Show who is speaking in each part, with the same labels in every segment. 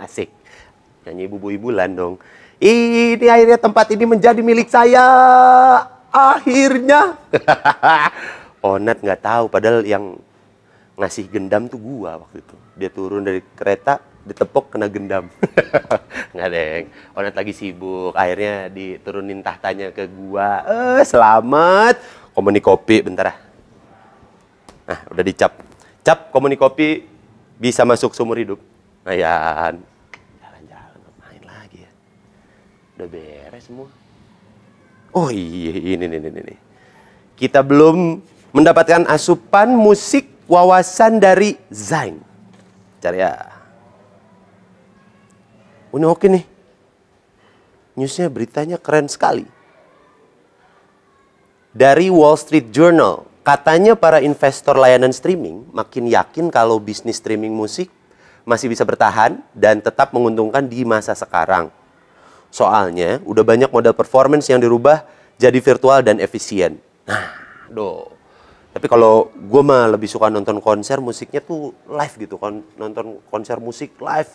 Speaker 1: Asik. Nyanyi ibu-ibu bulan dong. Ini akhirnya tempat ini menjadi milik saya. Akhirnya. Onat nggak tahu padahal yang ngasih gendam tuh gua waktu itu. Dia turun dari kereta ditepok kena gendam. Nggak deng. Onat lagi sibuk. Akhirnya diturunin tahtanya ke gua. Eh, selamat. Komuni kopi bentar ah. Nah, udah dicap. Cap komuni kopi bisa masuk seumur hidup. Ayan. Jalan-jalan ngapain lagi ya? Udah beres semua. Oh iya ini nih nih nih. Kita belum mendapatkan asupan musik wawasan dari Zain. Cari ya. Oh, Ini oke nih. Newsnya beritanya keren sekali dari Wall Street Journal. Katanya para investor layanan streaming makin yakin kalau bisnis streaming musik masih bisa bertahan dan tetap menguntungkan di masa sekarang. Soalnya udah banyak model performance yang dirubah jadi virtual dan efisien. Nah, do. Tapi kalau gue mah lebih suka nonton konser musiknya tuh live gitu, kon- nonton konser musik live.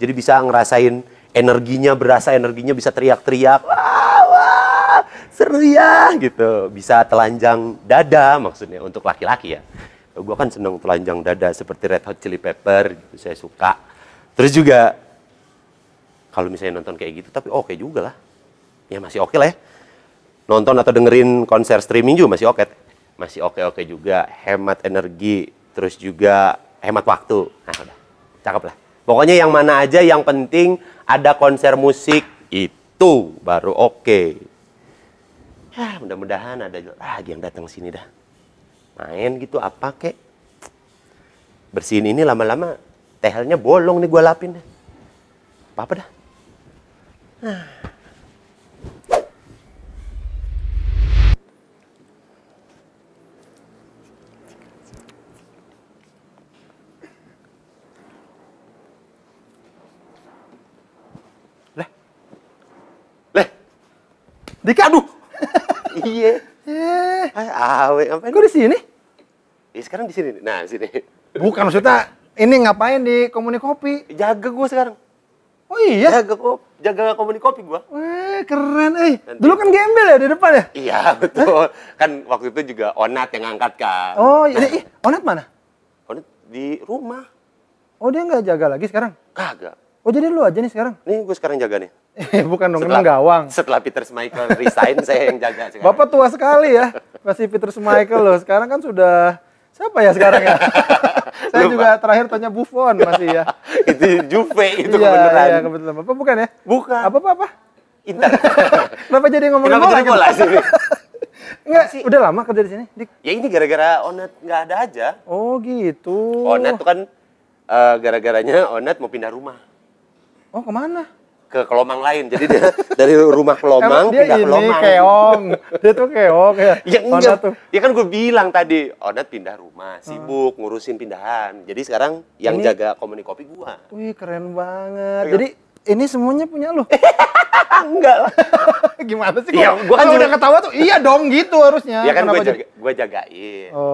Speaker 1: Jadi bisa ngerasain energinya, berasa energinya, bisa teriak-teriak. Wah, wah, seru ya gitu. Bisa telanjang dada maksudnya untuk laki-laki ya. Gue kan seneng telanjang dada seperti Red Hot Chili Pepper gitu, saya suka. Terus juga kalau misalnya nonton kayak gitu tapi oke juga lah. Ya masih oke lah ya. Nonton atau dengerin konser streaming juga masih oke. Masih oke-oke juga, hemat energi, terus juga hemat waktu. Nah udah, cakep lah. Pokoknya yang mana aja yang penting ada konser musik itu baru oke. Ya mudah-mudahan ada lagi yang datang sini dah. Main gitu apa kek. Bersihin ini lama-lama tehelnya bolong nih gua lapin deh. Apa-apa dah. Leh. Leh.
Speaker 2: Dika, aduh.
Speaker 1: Iya.
Speaker 2: Eh,
Speaker 1: Ah, awe ngapain?
Speaker 2: gue di sini.
Speaker 1: Ya, sekarang di sini. nih. Nah, di sini.
Speaker 2: Bukan maksudnya ini ngapain di komuni kopi?
Speaker 1: Jaga gua sekarang.
Speaker 2: Oh iya.
Speaker 1: Jaga kop, jaga komuni kopi gua.
Speaker 2: Weh, keren. Eh, dulu kan gembel ya di depan ya?
Speaker 1: Iya, betul. Kan waktu itu juga Onat yang angkat kan.
Speaker 2: Oh iya. Ih, Onat mana?
Speaker 1: Onat di rumah.
Speaker 2: Oh dia nggak jaga lagi sekarang.
Speaker 1: Kagak.
Speaker 2: Oh jadi lu aja nih sekarang?
Speaker 1: Nih gua sekarang jaga nih.
Speaker 2: Eh, bukan dong, emang gawang.
Speaker 1: Setelah Peter Michael resign, saya yang jaga sekarang.
Speaker 2: Bapak tua sekali ya. Masih Peter Michael loh. Sekarang kan sudah siapa ya sekarang ya? Saya
Speaker 1: Lupa.
Speaker 2: juga terakhir tanya Buffon masih ya.
Speaker 1: itu Juve itu
Speaker 2: iya,
Speaker 1: kebenaran.
Speaker 2: Iya, kebetulan. Bapak bukan ya?
Speaker 1: Bukan.
Speaker 2: Apa apa apa?
Speaker 1: Inter.
Speaker 2: Kenapa jadi ngomongin
Speaker 1: Kenapa
Speaker 2: bola?
Speaker 1: jadi bola sih?
Speaker 2: gitu? Enggak, udah lama kerja di sini, Dik.
Speaker 1: ya ini gara-gara Onat nggak ada aja.
Speaker 2: Oh, gitu.
Speaker 1: Onat tuh kan eh, gara-garanya Onat mau pindah rumah
Speaker 2: Oh, kemana?
Speaker 1: ke Kelomang lain. Jadi dia dari rumah Kelomang
Speaker 2: Emang dia
Speaker 1: pindah
Speaker 2: ini
Speaker 1: Kelomang.
Speaker 2: keong. Dia tuh keong ya.
Speaker 1: Ya
Speaker 2: Mana
Speaker 1: enggak.
Speaker 2: tuh? Hmm.
Speaker 1: Ya kan gue bilang tadi, Onat pindah rumah, sibuk ngurusin pindahan. Jadi sekarang yang
Speaker 2: Ini-
Speaker 1: jaga komuni kopi gua.
Speaker 2: Wih, keren
Speaker 1: Iya.
Speaker 2: banget. Jadi ini semuanya punya lu.
Speaker 1: Ah, enggak lah.
Speaker 2: Gimana sih?
Speaker 1: Iya,
Speaker 2: kalau-
Speaker 1: gua kan
Speaker 2: kalau
Speaker 1: cuma-
Speaker 2: udah ketawa tuh iya dong gitu harusnya.
Speaker 1: ya kan
Speaker 2: Kenapa
Speaker 1: gue
Speaker 2: jadi-
Speaker 1: jaga, gua Gitu. jagain.
Speaker 2: Oh,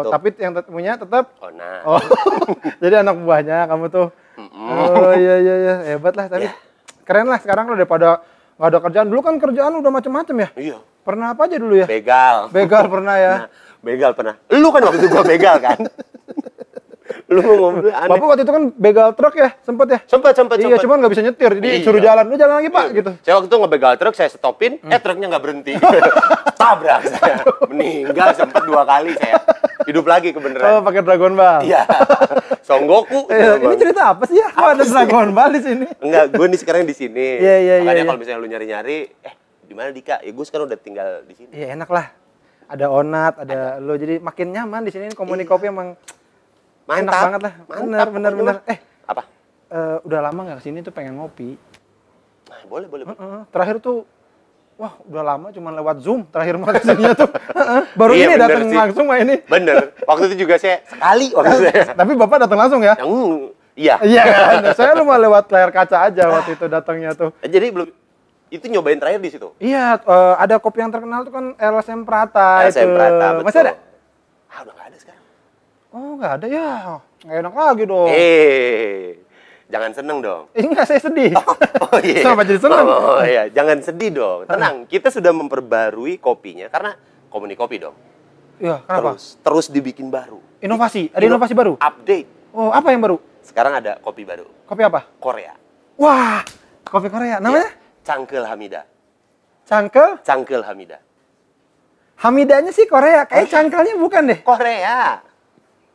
Speaker 1: Untuk-
Speaker 2: tapi yang tet- punya tetap
Speaker 1: Onat.
Speaker 2: Oh. jadi anak buahnya kamu tuh. Oh, iya iya iya, hebat lah tapi
Speaker 1: Iya.
Speaker 2: keren lah sekarang lu daripada nggak ada kerjaan. Dulu kan kerjaan udah macam-macam ya.
Speaker 1: Iya.
Speaker 2: Pernah apa aja dulu ya?
Speaker 1: Begal.
Speaker 2: Begal pernah ya.
Speaker 1: Nah, begal pernah. Lu kan waktu itu gua begal kan? Lu mau ngomong aneh.
Speaker 2: Bapak waktu itu kan begal truk ya, sempet ya?
Speaker 1: Sempet, sempet,
Speaker 2: Iya,
Speaker 1: sempet.
Speaker 2: cuman nggak bisa nyetir, jadi
Speaker 1: Iya.
Speaker 2: suruh jalan, lu jalan lagi pak, gitu. Hmm.
Speaker 1: Saya waktu itu ngebegal truk, saya stopin, eh truknya nggak berhenti. Tabrak saya. Meninggal sempet dua kali saya. Hidup lagi
Speaker 2: Oh,
Speaker 1: kebeneran.
Speaker 2: pakai Dragon Ball.
Speaker 1: Iya. Songgoku.
Speaker 2: Eh, ini cerita apa sih ya? Kok ada Dragon Ball di sini?
Speaker 1: Enggak, gue nih sekarang di sini.
Speaker 2: Iya, iya,
Speaker 1: Makanya
Speaker 2: iya,
Speaker 1: kalau misalnya lu nyari-nyari, eh di mana Dika? Ya gue sekarang udah tinggal di sini.
Speaker 2: Iya enak lah. Ada Onat, ada, Iya. lo jadi makin nyaman di sini Komuni Kopi emang
Speaker 1: Mantap.
Speaker 2: Enak banget lah. Bener, bener,
Speaker 1: pokoknya
Speaker 2: bener.
Speaker 1: mah.
Speaker 2: Eh.
Speaker 1: apa?
Speaker 2: eh, udah lama nggak kesini tuh pengen ngopi.
Speaker 1: Nah, boleh, boleh. boleh.
Speaker 2: Heeh, Terakhir tuh Wah, udah lama cuman lewat Zoom terakhir makasihnya tuh. Heeh, Baru
Speaker 1: Iya,
Speaker 2: ini
Speaker 1: bener
Speaker 2: datang
Speaker 1: sih.
Speaker 2: langsung mah ini.
Speaker 1: Bener. Waktu itu juga saya sekali waktu saya.
Speaker 2: Tapi Bapak datang langsung ya?
Speaker 1: Yang iya.
Speaker 2: Iya, kan? saya cuma lewat layar kaca aja waktu itu datangnya tuh.
Speaker 1: Jadi belum itu nyobain terakhir di situ.
Speaker 2: Iya, eh, ada kopi yang terkenal tuh kan LSM Prata Ah, itu.
Speaker 1: LSM Prata, betul.
Speaker 2: Masih ada?
Speaker 1: Ah, udah nggak ada sekarang.
Speaker 2: Oh, nggak ada ya. Nggak enak lagi dong.
Speaker 1: Eh, jangan seneng dong.
Speaker 2: Ini nggak saya sedih.
Speaker 1: Oh iya.
Speaker 2: Kenapa jadi seneng?
Speaker 1: Oh iya, jangan sedih dong. Tenang, kita sudah memperbarui kopinya karena komuni kopi dong.
Speaker 2: Iya, kenapa?
Speaker 1: Terus terus dibikin baru.
Speaker 2: Inovasi, ada inovasi baru?
Speaker 1: Update.
Speaker 2: Oh, apa yang baru?
Speaker 1: Sekarang ada kopi baru
Speaker 2: Kopi apa?
Speaker 1: Korea.
Speaker 2: Wah, kopi
Speaker 1: Iya.
Speaker 2: Korea. Namanya?
Speaker 1: Cangkel Hamida.
Speaker 2: Cangkel.
Speaker 1: Cangkel Hamida.
Speaker 2: Hamidanya sih Korea. Kayaknya
Speaker 1: Eh.
Speaker 2: cangkelnya bukan deh.
Speaker 1: Korea.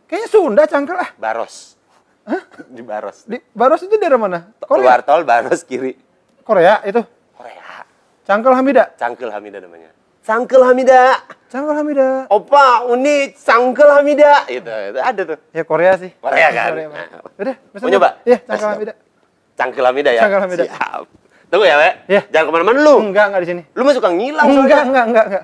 Speaker 2: Kayaknya Sunda cangkel ah.
Speaker 1: Baros. Di Baros.
Speaker 2: Di Baros itu daerah mana?
Speaker 1: Keluar
Speaker 2: Korea.
Speaker 1: tol Baros kiri.
Speaker 2: Korea itu.
Speaker 1: Korea.
Speaker 2: Cangkel Hamida.
Speaker 1: Cangkel Hamida namanya. Cangkel Hamida.
Speaker 2: Cangkel
Speaker 1: Oh.
Speaker 2: Hamida.
Speaker 1: Opa, Uni, Cangkel Hamida. Gitu, itu ada tuh.
Speaker 2: Ya Korea sih.
Speaker 1: Korea kan?
Speaker 2: Pak.
Speaker 1: Nah.
Speaker 2: Udah,
Speaker 1: Mau nyoba?
Speaker 2: Iya, cangkel
Speaker 1: Mas,
Speaker 2: Hamida.
Speaker 1: Cangkel Hamida ya?
Speaker 2: Cangkel Hamida.
Speaker 1: Siap. Tunggu ya, Wek.
Speaker 2: Iya.
Speaker 1: Jangan kemana-mana lu.
Speaker 2: Enggak, enggak di sini.
Speaker 1: Lu mah suka ngilang
Speaker 2: Enggak, enggak, enggak, enggak.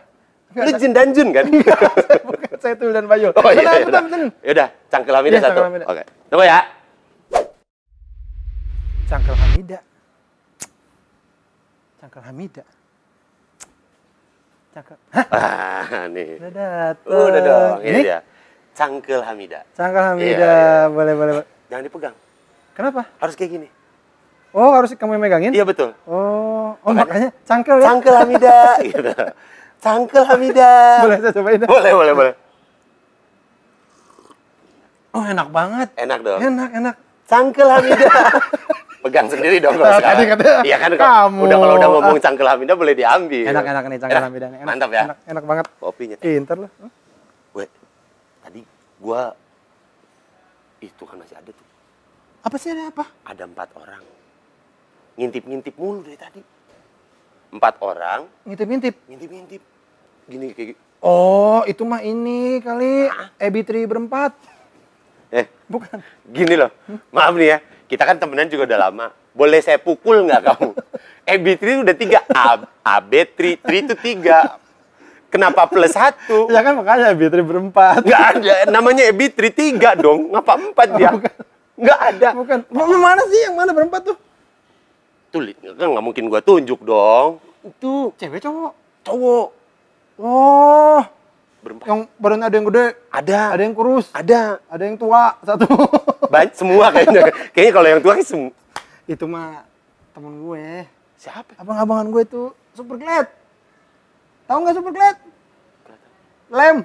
Speaker 1: Lu Jin dan Jun kan?
Speaker 2: Bukan saya Tul dan Bayu.
Speaker 1: Oh iya,
Speaker 2: Bentar,
Speaker 1: iya,
Speaker 2: bentar,
Speaker 1: udah.
Speaker 2: bentar.
Speaker 1: Yaudah, Cangkel Hamida
Speaker 2: Iya,
Speaker 1: satu.
Speaker 2: Cangkel Hamida.
Speaker 1: Oke, tunggu ya.
Speaker 2: Cangkel Hamida. Cangkel Hamida. Cangkel. Hah,
Speaker 1: Ah, nih.
Speaker 2: udah datang.
Speaker 1: Udah dong, ini
Speaker 2: Ini
Speaker 1: dia. Cangkel Hamida.
Speaker 2: Cangkel Hamida.
Speaker 1: Iya, iya.
Speaker 2: Boleh, boleh, boleh.
Speaker 1: Jangan dipegang.
Speaker 2: Kenapa?
Speaker 1: Harus kayak gini.
Speaker 2: Oh, harus kamu yang megangin?
Speaker 1: Iya, betul.
Speaker 2: Oh, oh makanya cangkel ya.
Speaker 1: Cangkel Hamida. gitu. Cangkel Hamida.
Speaker 2: Boleh saya cobain. dah.
Speaker 1: boleh, boleh, boleh.
Speaker 2: Oh, enak banget.
Speaker 1: Enak dong.
Speaker 2: Enak, enak.
Speaker 1: Cangkel Hamida. Pegang sendiri dong
Speaker 2: Nah,
Speaker 1: kalau sekarang.
Speaker 2: tadi katanya
Speaker 1: iya kan
Speaker 2: kamu.
Speaker 1: udah kalau udah ngomong Cangkel Hamida boleh diambil.
Speaker 2: Enak, enak nih cangkel
Speaker 1: Enak.
Speaker 2: Hamida nih. Enak,
Speaker 1: Iya. Mantap ya. Iya.
Speaker 2: Enak, Iya. enak banget.
Speaker 1: Kopinya.
Speaker 2: Pinter lu.
Speaker 1: Weh, tadi gua itu kan masih ada tuh.
Speaker 2: Apa sih ada apa?
Speaker 1: Ada empat orang. Ngintip-ngintip mulu dari tadi. Empat orang
Speaker 2: Ngintip-ngintip.
Speaker 1: ngintip-ngintip. Gini kayak gini.
Speaker 2: Oh, itu mah ini kali EB3 berempat.
Speaker 1: Eh,
Speaker 2: Bukan.
Speaker 1: gini loh. Maaf nih ya. Kita kan temenan juga udah lama. Boleh saya pukul nggak kamu? EB3 udah tiga. A- AB3, 3 itu tiga. Kenapa plus satu?
Speaker 2: Ya kan makanya EB3 berempat.
Speaker 1: Nggak ada. Namanya EB3 tiga dong. Ngapa empat dia? Nggak ada.
Speaker 2: Iya, Bukan. Ma- ma- Mana sih yang mana berempat tuh?
Speaker 1: Tuh, kan nggak mungkin gua tunjuk dong.
Speaker 2: Itu cewek cowok.
Speaker 1: Cowok.
Speaker 2: Oh,
Speaker 1: Berempat.
Speaker 2: yang badannya ada yang gede,
Speaker 1: Ada.
Speaker 2: ada yang kurus,
Speaker 1: Ada.
Speaker 2: ada yang tua satu.
Speaker 1: Banyak semua kayaknya. kayaknya kalau yang tua kayak semua.
Speaker 2: itu mah temen gue.
Speaker 1: Siapa?
Speaker 2: Abang-abangan gue tuh super glad. Tahu nggak super glad? Lem.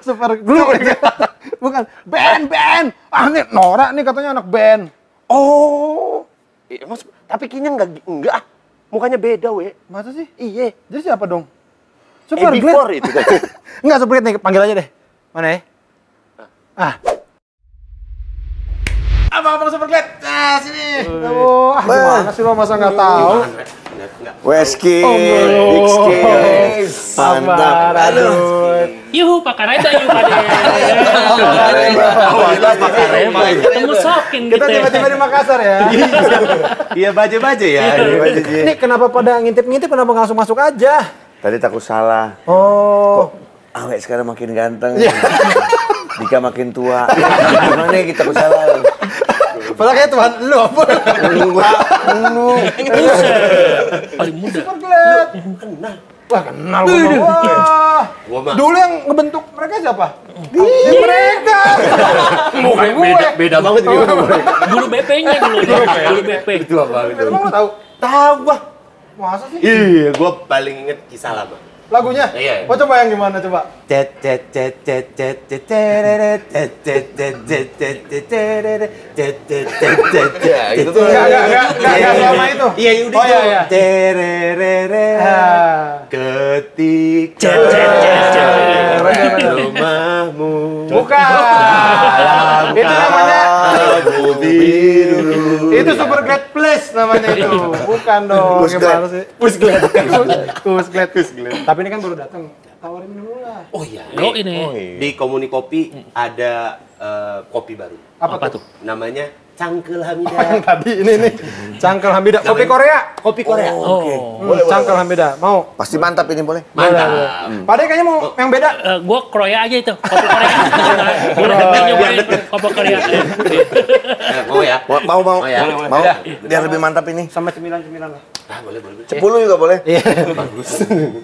Speaker 2: super glue. Bukan band band. Ah nih Nora nih katanya anak band.
Speaker 1: Oh. Iya, emang se- tapi kayaknya nggak gi- nggak. ah. Mukanya beda, we.
Speaker 2: Masa sih?
Speaker 1: Iya.
Speaker 2: Jadi siapa dong? Super
Speaker 1: AB4
Speaker 2: glad.
Speaker 1: itu kan.
Speaker 2: Enggak super glad nih panggil aja deh. Mana ya? Ah.
Speaker 1: Abang-abang super glad.
Speaker 2: Eh,
Speaker 1: Nah, sini.
Speaker 2: Oh, ah gimana sih lo masa nggak tahu?
Speaker 3: Weski,
Speaker 2: belum.
Speaker 3: Big
Speaker 2: Yes.
Speaker 3: Ski, mantap.
Speaker 2: Aduh.
Speaker 4: Yuhu Pak Kareda yuhu Pak
Speaker 1: Oh, itu apa karema?
Speaker 4: Ketemu sokin gitu
Speaker 2: Kita
Speaker 4: ya.
Speaker 2: tiba-tiba di Makassar ya.
Speaker 1: Iya, baje-baje ya.
Speaker 3: Terima kasih, Ji.
Speaker 2: Ini kenapa pada ngintip-ngintip kenapa nggak langsung masuk aja?
Speaker 3: Tadi takut salah.
Speaker 2: Oh.
Speaker 3: Awek sekarang makin ganteng. Dika makin tua. Gimana ya kita takut salah?
Speaker 2: Padahal kayak Tuhan lu apa?
Speaker 4: Paling muda.
Speaker 2: Super Glad. Wah kenal gue. mah. Wah.
Speaker 1: Gua mah.
Speaker 2: Dulu yang ngebentuk mereka siapa? Dia mereka. Bukan gue.
Speaker 1: beda banget gitu.
Speaker 4: Dulu BP-nya dulu. Dulu BP.
Speaker 1: Itu apa itu?
Speaker 2: Emang lo tahu?
Speaker 1: Tahu gua.
Speaker 2: Masa sih?
Speaker 1: Iya, gua paling inget kisah lama.
Speaker 2: Lagunya?
Speaker 1: Iya.
Speaker 2: Mau coba yang gimana coba?
Speaker 1: Ya, gitu tuh.
Speaker 2: Enggak, enggak, enggak, enggak, enggak selama itu.
Speaker 1: Iya, udah
Speaker 2: Oh, iya, iya.
Speaker 1: itu. Tererere.
Speaker 2: Ah.
Speaker 1: Ketika rumahmu
Speaker 2: Bukan. itu namanya
Speaker 1: abu biru.
Speaker 2: itu super glad plus namanya itu. Bukan dong.
Speaker 3: Push
Speaker 2: Gimana
Speaker 3: Glad.
Speaker 2: sih?
Speaker 1: Push
Speaker 2: Kus glad. Tapi ini kan baru datang. Tawarin minum lah.
Speaker 1: Oh iya.
Speaker 4: Yo ini.
Speaker 1: Di Komuni Kopi ada eh,
Speaker 5: eh, kopi baru.
Speaker 2: Apa,
Speaker 4: Apa
Speaker 2: tuh?
Speaker 4: tuh?
Speaker 5: Namanya Cangkel
Speaker 2: Yang
Speaker 5: Hamidah.
Speaker 2: tadi ini nih. Cangkel Hambida. Kopi Korea.
Speaker 5: Kopi Korea.
Speaker 3: Oh.
Speaker 4: Oh.
Speaker 3: Oke.
Speaker 2: Hmm, Cangkel Hambida. Mau?
Speaker 3: Pasti mantap ini boleh.
Speaker 5: Mantap.
Speaker 2: Pak Ade kayaknya mau yang beda.
Speaker 4: Eh, gua Korea aja itu, kopi Korea. Boleh
Speaker 2: Korea. Iya,
Speaker 4: nyobain kopi Korea.
Speaker 5: Eh, mau ya?
Speaker 3: Mau mau mau.
Speaker 5: Oh,
Speaker 1: iya.
Speaker 5: ya.
Speaker 3: Mau.
Speaker 5: Boleh,
Speaker 3: Biar Biar lebih mantap ini.
Speaker 2: Sama cemilan-cemilan lah.
Speaker 5: Ah, boleh, boleh. boleh.
Speaker 3: Sepuluh juga boleh.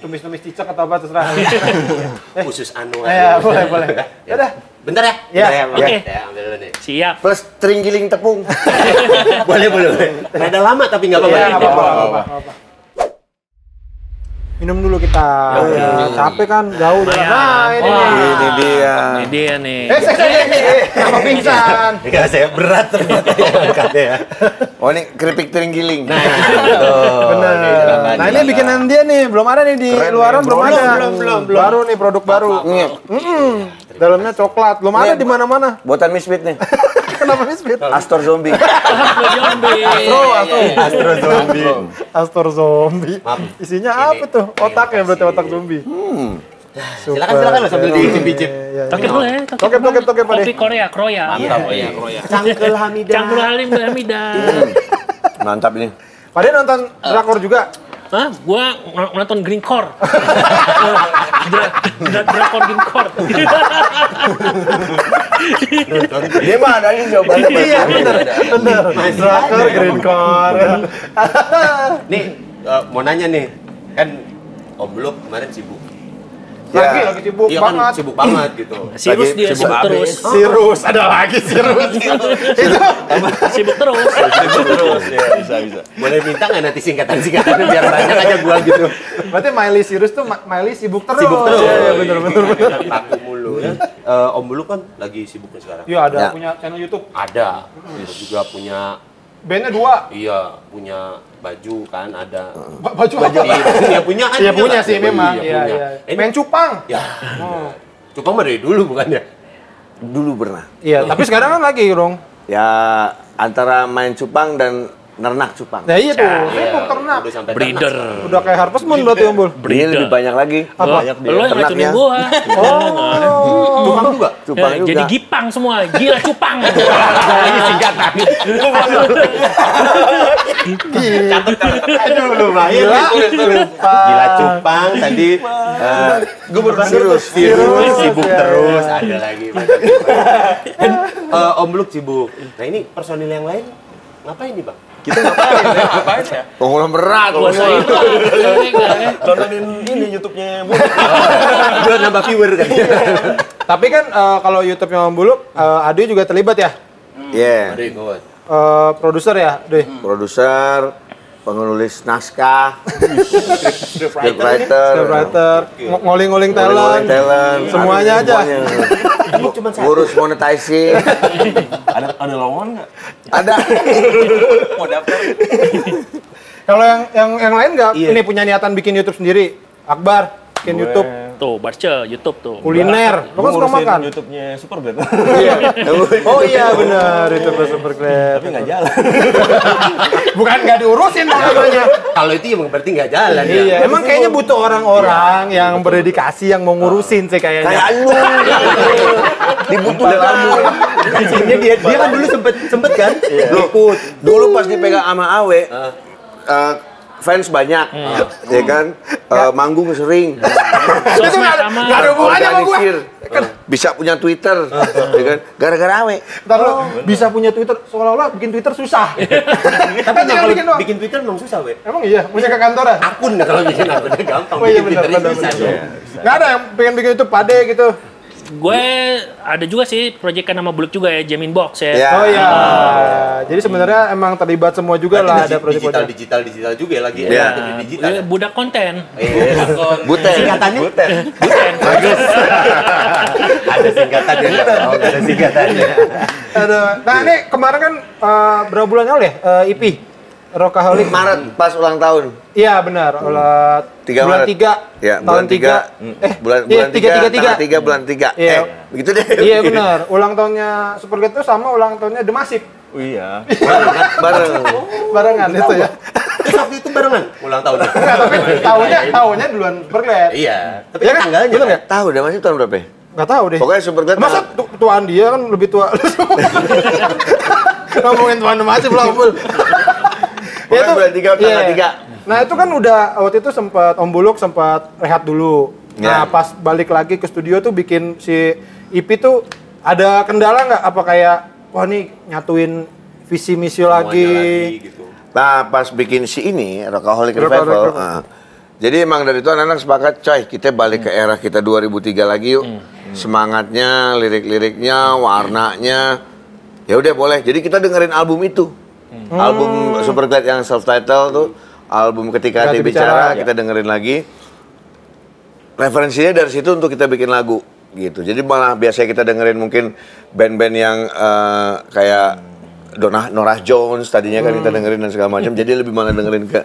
Speaker 2: Tumis-tumis cicak atau apa terserah.
Speaker 5: Eh, Khusus anu.
Speaker 2: Ya, boleh, boleh. Yaudah.
Speaker 5: Bentar ya?
Speaker 2: Ya,
Speaker 5: Bentar Bang.
Speaker 4: oke.
Speaker 5: Ya, ambil dulu nih.
Speaker 4: Siap.
Speaker 3: Plus terenggiling tepung.
Speaker 5: boleh, boleh. boleh. Rada lama tapi nggak apa-apa.
Speaker 2: Iya,
Speaker 5: ya?
Speaker 2: nggak apa-apa, nggak apa-apa, nggak apa-apa. Minum dulu kita. Ya, capek kan, jauh jalan. Nah,
Speaker 4: Lumayan.
Speaker 2: ini
Speaker 4: Wah.
Speaker 2: nih.
Speaker 3: Ini dia.
Speaker 4: Ini dia nih.
Speaker 2: Eh, saya saya eh, kenapa pingsan?
Speaker 5: Enggak, saya berat ternyata ya angkatnya ya.
Speaker 3: Oh ini keripik terenggiling.
Speaker 2: Benar. Nah, ini bikinan dia nih, belum ada nih di
Speaker 3: Keren
Speaker 2: luaran
Speaker 3: nih.
Speaker 2: belum ada.
Speaker 5: belum, belum, belum.
Speaker 2: Baru nih produk baru.
Speaker 3: Ini
Speaker 2: Mm-mm. Dalamnya coklat, belum ada
Speaker 3: Nih.
Speaker 2: di mana-mana.
Speaker 3: buatan misfit nih.
Speaker 2: Kenapa misfit?
Speaker 3: Astor zombie.
Speaker 4: Astro,
Speaker 5: Astro zombie.
Speaker 2: Astor zombie.
Speaker 5: Maaf.
Speaker 2: Isinya apa
Speaker 5: Ini.
Speaker 2: tuh? Otak ya berarti
Speaker 5: Ini.
Speaker 2: otak zombie. Nah, Super.
Speaker 5: Hmm. Silakan, silakan loh sambil dicicip-cicip.
Speaker 2: Iya, iya.
Speaker 4: Oke boleh.
Speaker 2: Oke, oke, oke, Pak De.
Speaker 4: ya, Kopi Korea, Korea.
Speaker 5: Mantap, oh iya. Cangkel Hamidah.
Speaker 4: Cangkul Halim Hamida.
Speaker 3: Mantap ini.
Speaker 2: Pak De nonton drakor juga?
Speaker 4: Hah? Gua ng- nonton Green Core. Dra- dra- Drakor Green Core.
Speaker 3: Dia mah ada ini jawabannya.
Speaker 2: Iya, benar. Benar.
Speaker 5: Masih
Speaker 2: Drakor
Speaker 5: ada.
Speaker 2: green core.
Speaker 5: Nih, eh, mau nanya nih. Kan Om Blok kemarin sibuk.
Speaker 2: Lagi lagi sibuk
Speaker 5: Iya kan
Speaker 2: banget.
Speaker 5: sibuk banget gitu.
Speaker 4: Sirus
Speaker 3: sibuk
Speaker 4: dia sibuk
Speaker 3: abis.
Speaker 4: terus.
Speaker 5: Oh.
Speaker 2: Sirus, ada lagi sirus.
Speaker 4: Sibuk terus.
Speaker 5: Sibuk terus ya, bisa bisa. Boleh minta nggak nanti singkatan-singkatannya biar banyak aja gua gitu.
Speaker 2: Berarti Miley Sirus tuh Ma- Miley kan? sibuk terus.
Speaker 5: Sibuk terus.
Speaker 2: Iya, iya, benar benar benar.
Speaker 5: Aku mulu. Eh, Om Blok kan lagi sibuknya sekarang.
Speaker 2: Iya, ada
Speaker 3: Ya.
Speaker 2: punya channel YouTube.
Speaker 5: Ada. Terus juga punya
Speaker 2: Bandnya dua.
Speaker 5: iya, punya baju kan ada.
Speaker 2: Ba- Baju
Speaker 5: Baju
Speaker 2: apa?
Speaker 5: iya punya kan.
Speaker 2: Iya
Speaker 5: juga
Speaker 2: punya
Speaker 5: kan?
Speaker 2: sih memang. Iya,
Speaker 5: punya.
Speaker 2: iya.
Speaker 5: Eh,
Speaker 2: Main Oh. cupang.
Speaker 5: Ya. Cupang mah dari dulu bukan ya?
Speaker 3: Dulu pernah.
Speaker 2: Iya, tapi sekarang kan lagi dong.
Speaker 3: Ya antara main cupang dan nernak cupang.
Speaker 2: Nah iya tuh,
Speaker 5: Iya,
Speaker 2: sibuk ternak.
Speaker 5: udah sampai
Speaker 4: Breeder.
Speaker 5: ternak.
Speaker 2: Udah kayak Harvest Moon berarti Om Bul.
Speaker 3: Dia lebih banyak lagi.
Speaker 4: Lo
Speaker 3: Banyak dia.
Speaker 4: lo yang
Speaker 3: Ternaknya.
Speaker 4: racunin gua.
Speaker 2: Oh.
Speaker 5: Cupang juga.
Speaker 3: Cupang
Speaker 4: Ya,
Speaker 3: juga.
Speaker 4: Jadi gipang semua, gila cupang.
Speaker 5: Ini singkatan. Catet, catet. Aduh, lumayan.
Speaker 2: Gila.
Speaker 5: Tulis, tulis. Gila cupang tadi. eh, Gue berpikir
Speaker 3: Sirus.
Speaker 5: terus. Virus,
Speaker 2: Sirus,
Speaker 5: Iya, sibuk
Speaker 2: ya,
Speaker 5: terus. Ada lagi. banyak, banyak. Kan, eh, Om Luk sibuk. Nah ini personil yang lain ngapain nih bang? Kita ngapain? Ngapain ya?
Speaker 3: Konglomerat.
Speaker 4: Puasa itu.
Speaker 3: Tontonin ini YouTube-nya.
Speaker 5: Gue nambah viewer kan.
Speaker 2: Tapi kan eh, kalau YouTube-nya Om Bulu, eh, Ade juga terlibat ya?
Speaker 3: Iya.
Speaker 5: Aduh, ikut.
Speaker 2: Eh, produser ya, Ade?
Speaker 3: Hmm. Produser, penulis naskah, scriptwriter,
Speaker 2: scriptwriter, ngo- ngoling-ngoling
Speaker 3: ngoling-ngoling
Speaker 2: talent,
Speaker 3: talent,
Speaker 2: semuanya aja.
Speaker 3: aduh, semuanya.
Speaker 5: Ini cuma satu.
Speaker 3: Ngurus monetizing.
Speaker 6: ada ada lowongan nggak?
Speaker 3: Ada.
Speaker 6: Mau daftar?
Speaker 2: Kalau yang yang yang lain nggak
Speaker 5: Iya.
Speaker 2: ini punya niatan bikin YouTube sendiri. Akbar bikin YouTube
Speaker 4: Tuh, baca YouTube tuh.
Speaker 2: kuliner. Lo kan suka
Speaker 6: Ngurusin
Speaker 2: makan.
Speaker 6: YouTube-nya Superbad.
Speaker 2: Oh iya benar, YouTube super keren.
Speaker 6: Tapi nggak jalan.
Speaker 2: Bukan nggak diurusin dong namanya.
Speaker 5: Kalau itu ya berarti nggak jalan ya.
Speaker 2: Iya, emang kayaknya butuh orang-orang yang berdedikasi yang mau ngurusin sih
Speaker 3: Kayak
Speaker 2: kayaknya.
Speaker 3: anu. Dibutuhkan.
Speaker 5: Isinya dia dia kan dulu sempet sempet kan ikut.
Speaker 3: Dulu pas dipegang sama Awe, eh, fans banyak, ya kan, Eh, manggung sering,
Speaker 4: Sosmed sama.
Speaker 2: Nggak ada hubungannya sama gue.
Speaker 3: organisir, bisa punya Twitter, ya kan, gara-gara Awe.
Speaker 2: Ntar lo bisa punya Twitter, seolah-olah bikin Twitter susah. Tapi
Speaker 5: Tapi nggak
Speaker 2: tinggal
Speaker 5: kalau
Speaker 2: bikin doang.
Speaker 5: bikin Twitter memang susah we.
Speaker 2: Emang iya, iya. punya ke kantoran.
Speaker 5: Akun nah, kalau bikin akunnya gampang.
Speaker 2: Oh iya
Speaker 5: bikin
Speaker 2: benar
Speaker 5: Twitternya
Speaker 2: benar.
Speaker 5: susah
Speaker 2: benar.
Speaker 5: dong.
Speaker 2: Nggak ada yang pengen bikin YouTube pade gitu.
Speaker 4: Gue ada juga sih proyekan nama Buluk juga ya, Jamin Box ya.
Speaker 3: Ya.
Speaker 2: Oh iya. Jadi sebenarnya emang terlibat semua juga lah ada
Speaker 5: Iya, digital
Speaker 2: proyek-proyek.
Speaker 5: digital digital juga ya lagi
Speaker 3: Iya.
Speaker 5: aktif di digital. ya? Nah,
Speaker 4: Dia Nah, Budak konten.
Speaker 3: Butet.
Speaker 5: Singkatannya?
Speaker 3: Butet.
Speaker 4: Bukan.
Speaker 5: ada singkatannya nggak tahu, nggak ada singkatannya.
Speaker 2: Aduh. Nah ini kemarin kan eh, berapa bulan yang lalu ya eh, IP Rockaholic.
Speaker 3: Maret pas ulang tahun.
Speaker 2: Iya benar. Olah
Speaker 3: Hmm. Tiga
Speaker 2: bulan
Speaker 3: Maret.
Speaker 2: tiga.
Speaker 3: Ya,
Speaker 2: tahun
Speaker 3: bulan tiga.
Speaker 2: Eh,
Speaker 3: bulan
Speaker 2: iya,
Speaker 3: bulan
Speaker 2: tiga, tiga, tiga.
Speaker 3: tanggal tiga, bulan tiga.
Speaker 2: Iya.
Speaker 3: Eh, begitu deh.
Speaker 2: Iya benar. Ulang tahunnya Supergate itu sama ulang tahunnya The Massive.
Speaker 6: Oh iya.
Speaker 3: Bareng.
Speaker 2: Barengan itu ya.
Speaker 5: Terus waktu itu barengan ulang tahunnya.
Speaker 2: Tapi tahunnya tahunnya duluan Supergate.
Speaker 5: Iya. Tapi
Speaker 2: Iya
Speaker 5: kan
Speaker 2: kan?
Speaker 5: tanggalnya
Speaker 2: Bener
Speaker 5: kan?
Speaker 2: nggak?
Speaker 3: Tahu udah masih tahun berapa? ya?
Speaker 2: Gak tahu deh.
Speaker 3: Pokoknya Superglad
Speaker 2: Masa
Speaker 3: malah-
Speaker 2: tu- tuaan dia kan lebih tua. lu semua? Ngomongin tuaan sama aja belum full.
Speaker 3: Pokoknya bulan tiga, tanggal
Speaker 2: Ya, iya.
Speaker 3: tiga.
Speaker 2: Nah itu kan udah waktu itu sempat Om Buluk sempat rehat dulu. Nah
Speaker 3: Iya.
Speaker 2: pas balik lagi ke studio tuh bikin si IP tuh ada kendala nggak? Apa kayak wah nih nyatuin visi misi lagi?
Speaker 7: gitu.
Speaker 3: Nah, pas bikin si ini,
Speaker 2: Rockaholic
Speaker 3: Rockaholic Revival,
Speaker 2: Revival.
Speaker 3: ah. jadi emang dari itu anak-anak sepakat, coy, kita balik ke era kita 2003 lagi yuk.
Speaker 2: Hmm.
Speaker 3: Semangatnya, lirik-liriknya, warnanya, ya udah boleh. Jadi kita dengerin album itu.
Speaker 2: Hmm.
Speaker 3: Album Superglad yang self-titled tuh, album Ketika
Speaker 2: Ketika
Speaker 3: Dia
Speaker 2: Dia
Speaker 3: Bicara,
Speaker 2: Bicara. ya.
Speaker 3: kita dengerin lagi. Referensinya dari situ untuk kita bikin lagu, gitu. Jadi malah biasanya kita dengerin mungkin band-band yang eh, kayak Dona Norah Jones tadinya kan
Speaker 2: Hmm.
Speaker 3: kita dengerin dan segala macam. Jadi lebih malah dengerin ke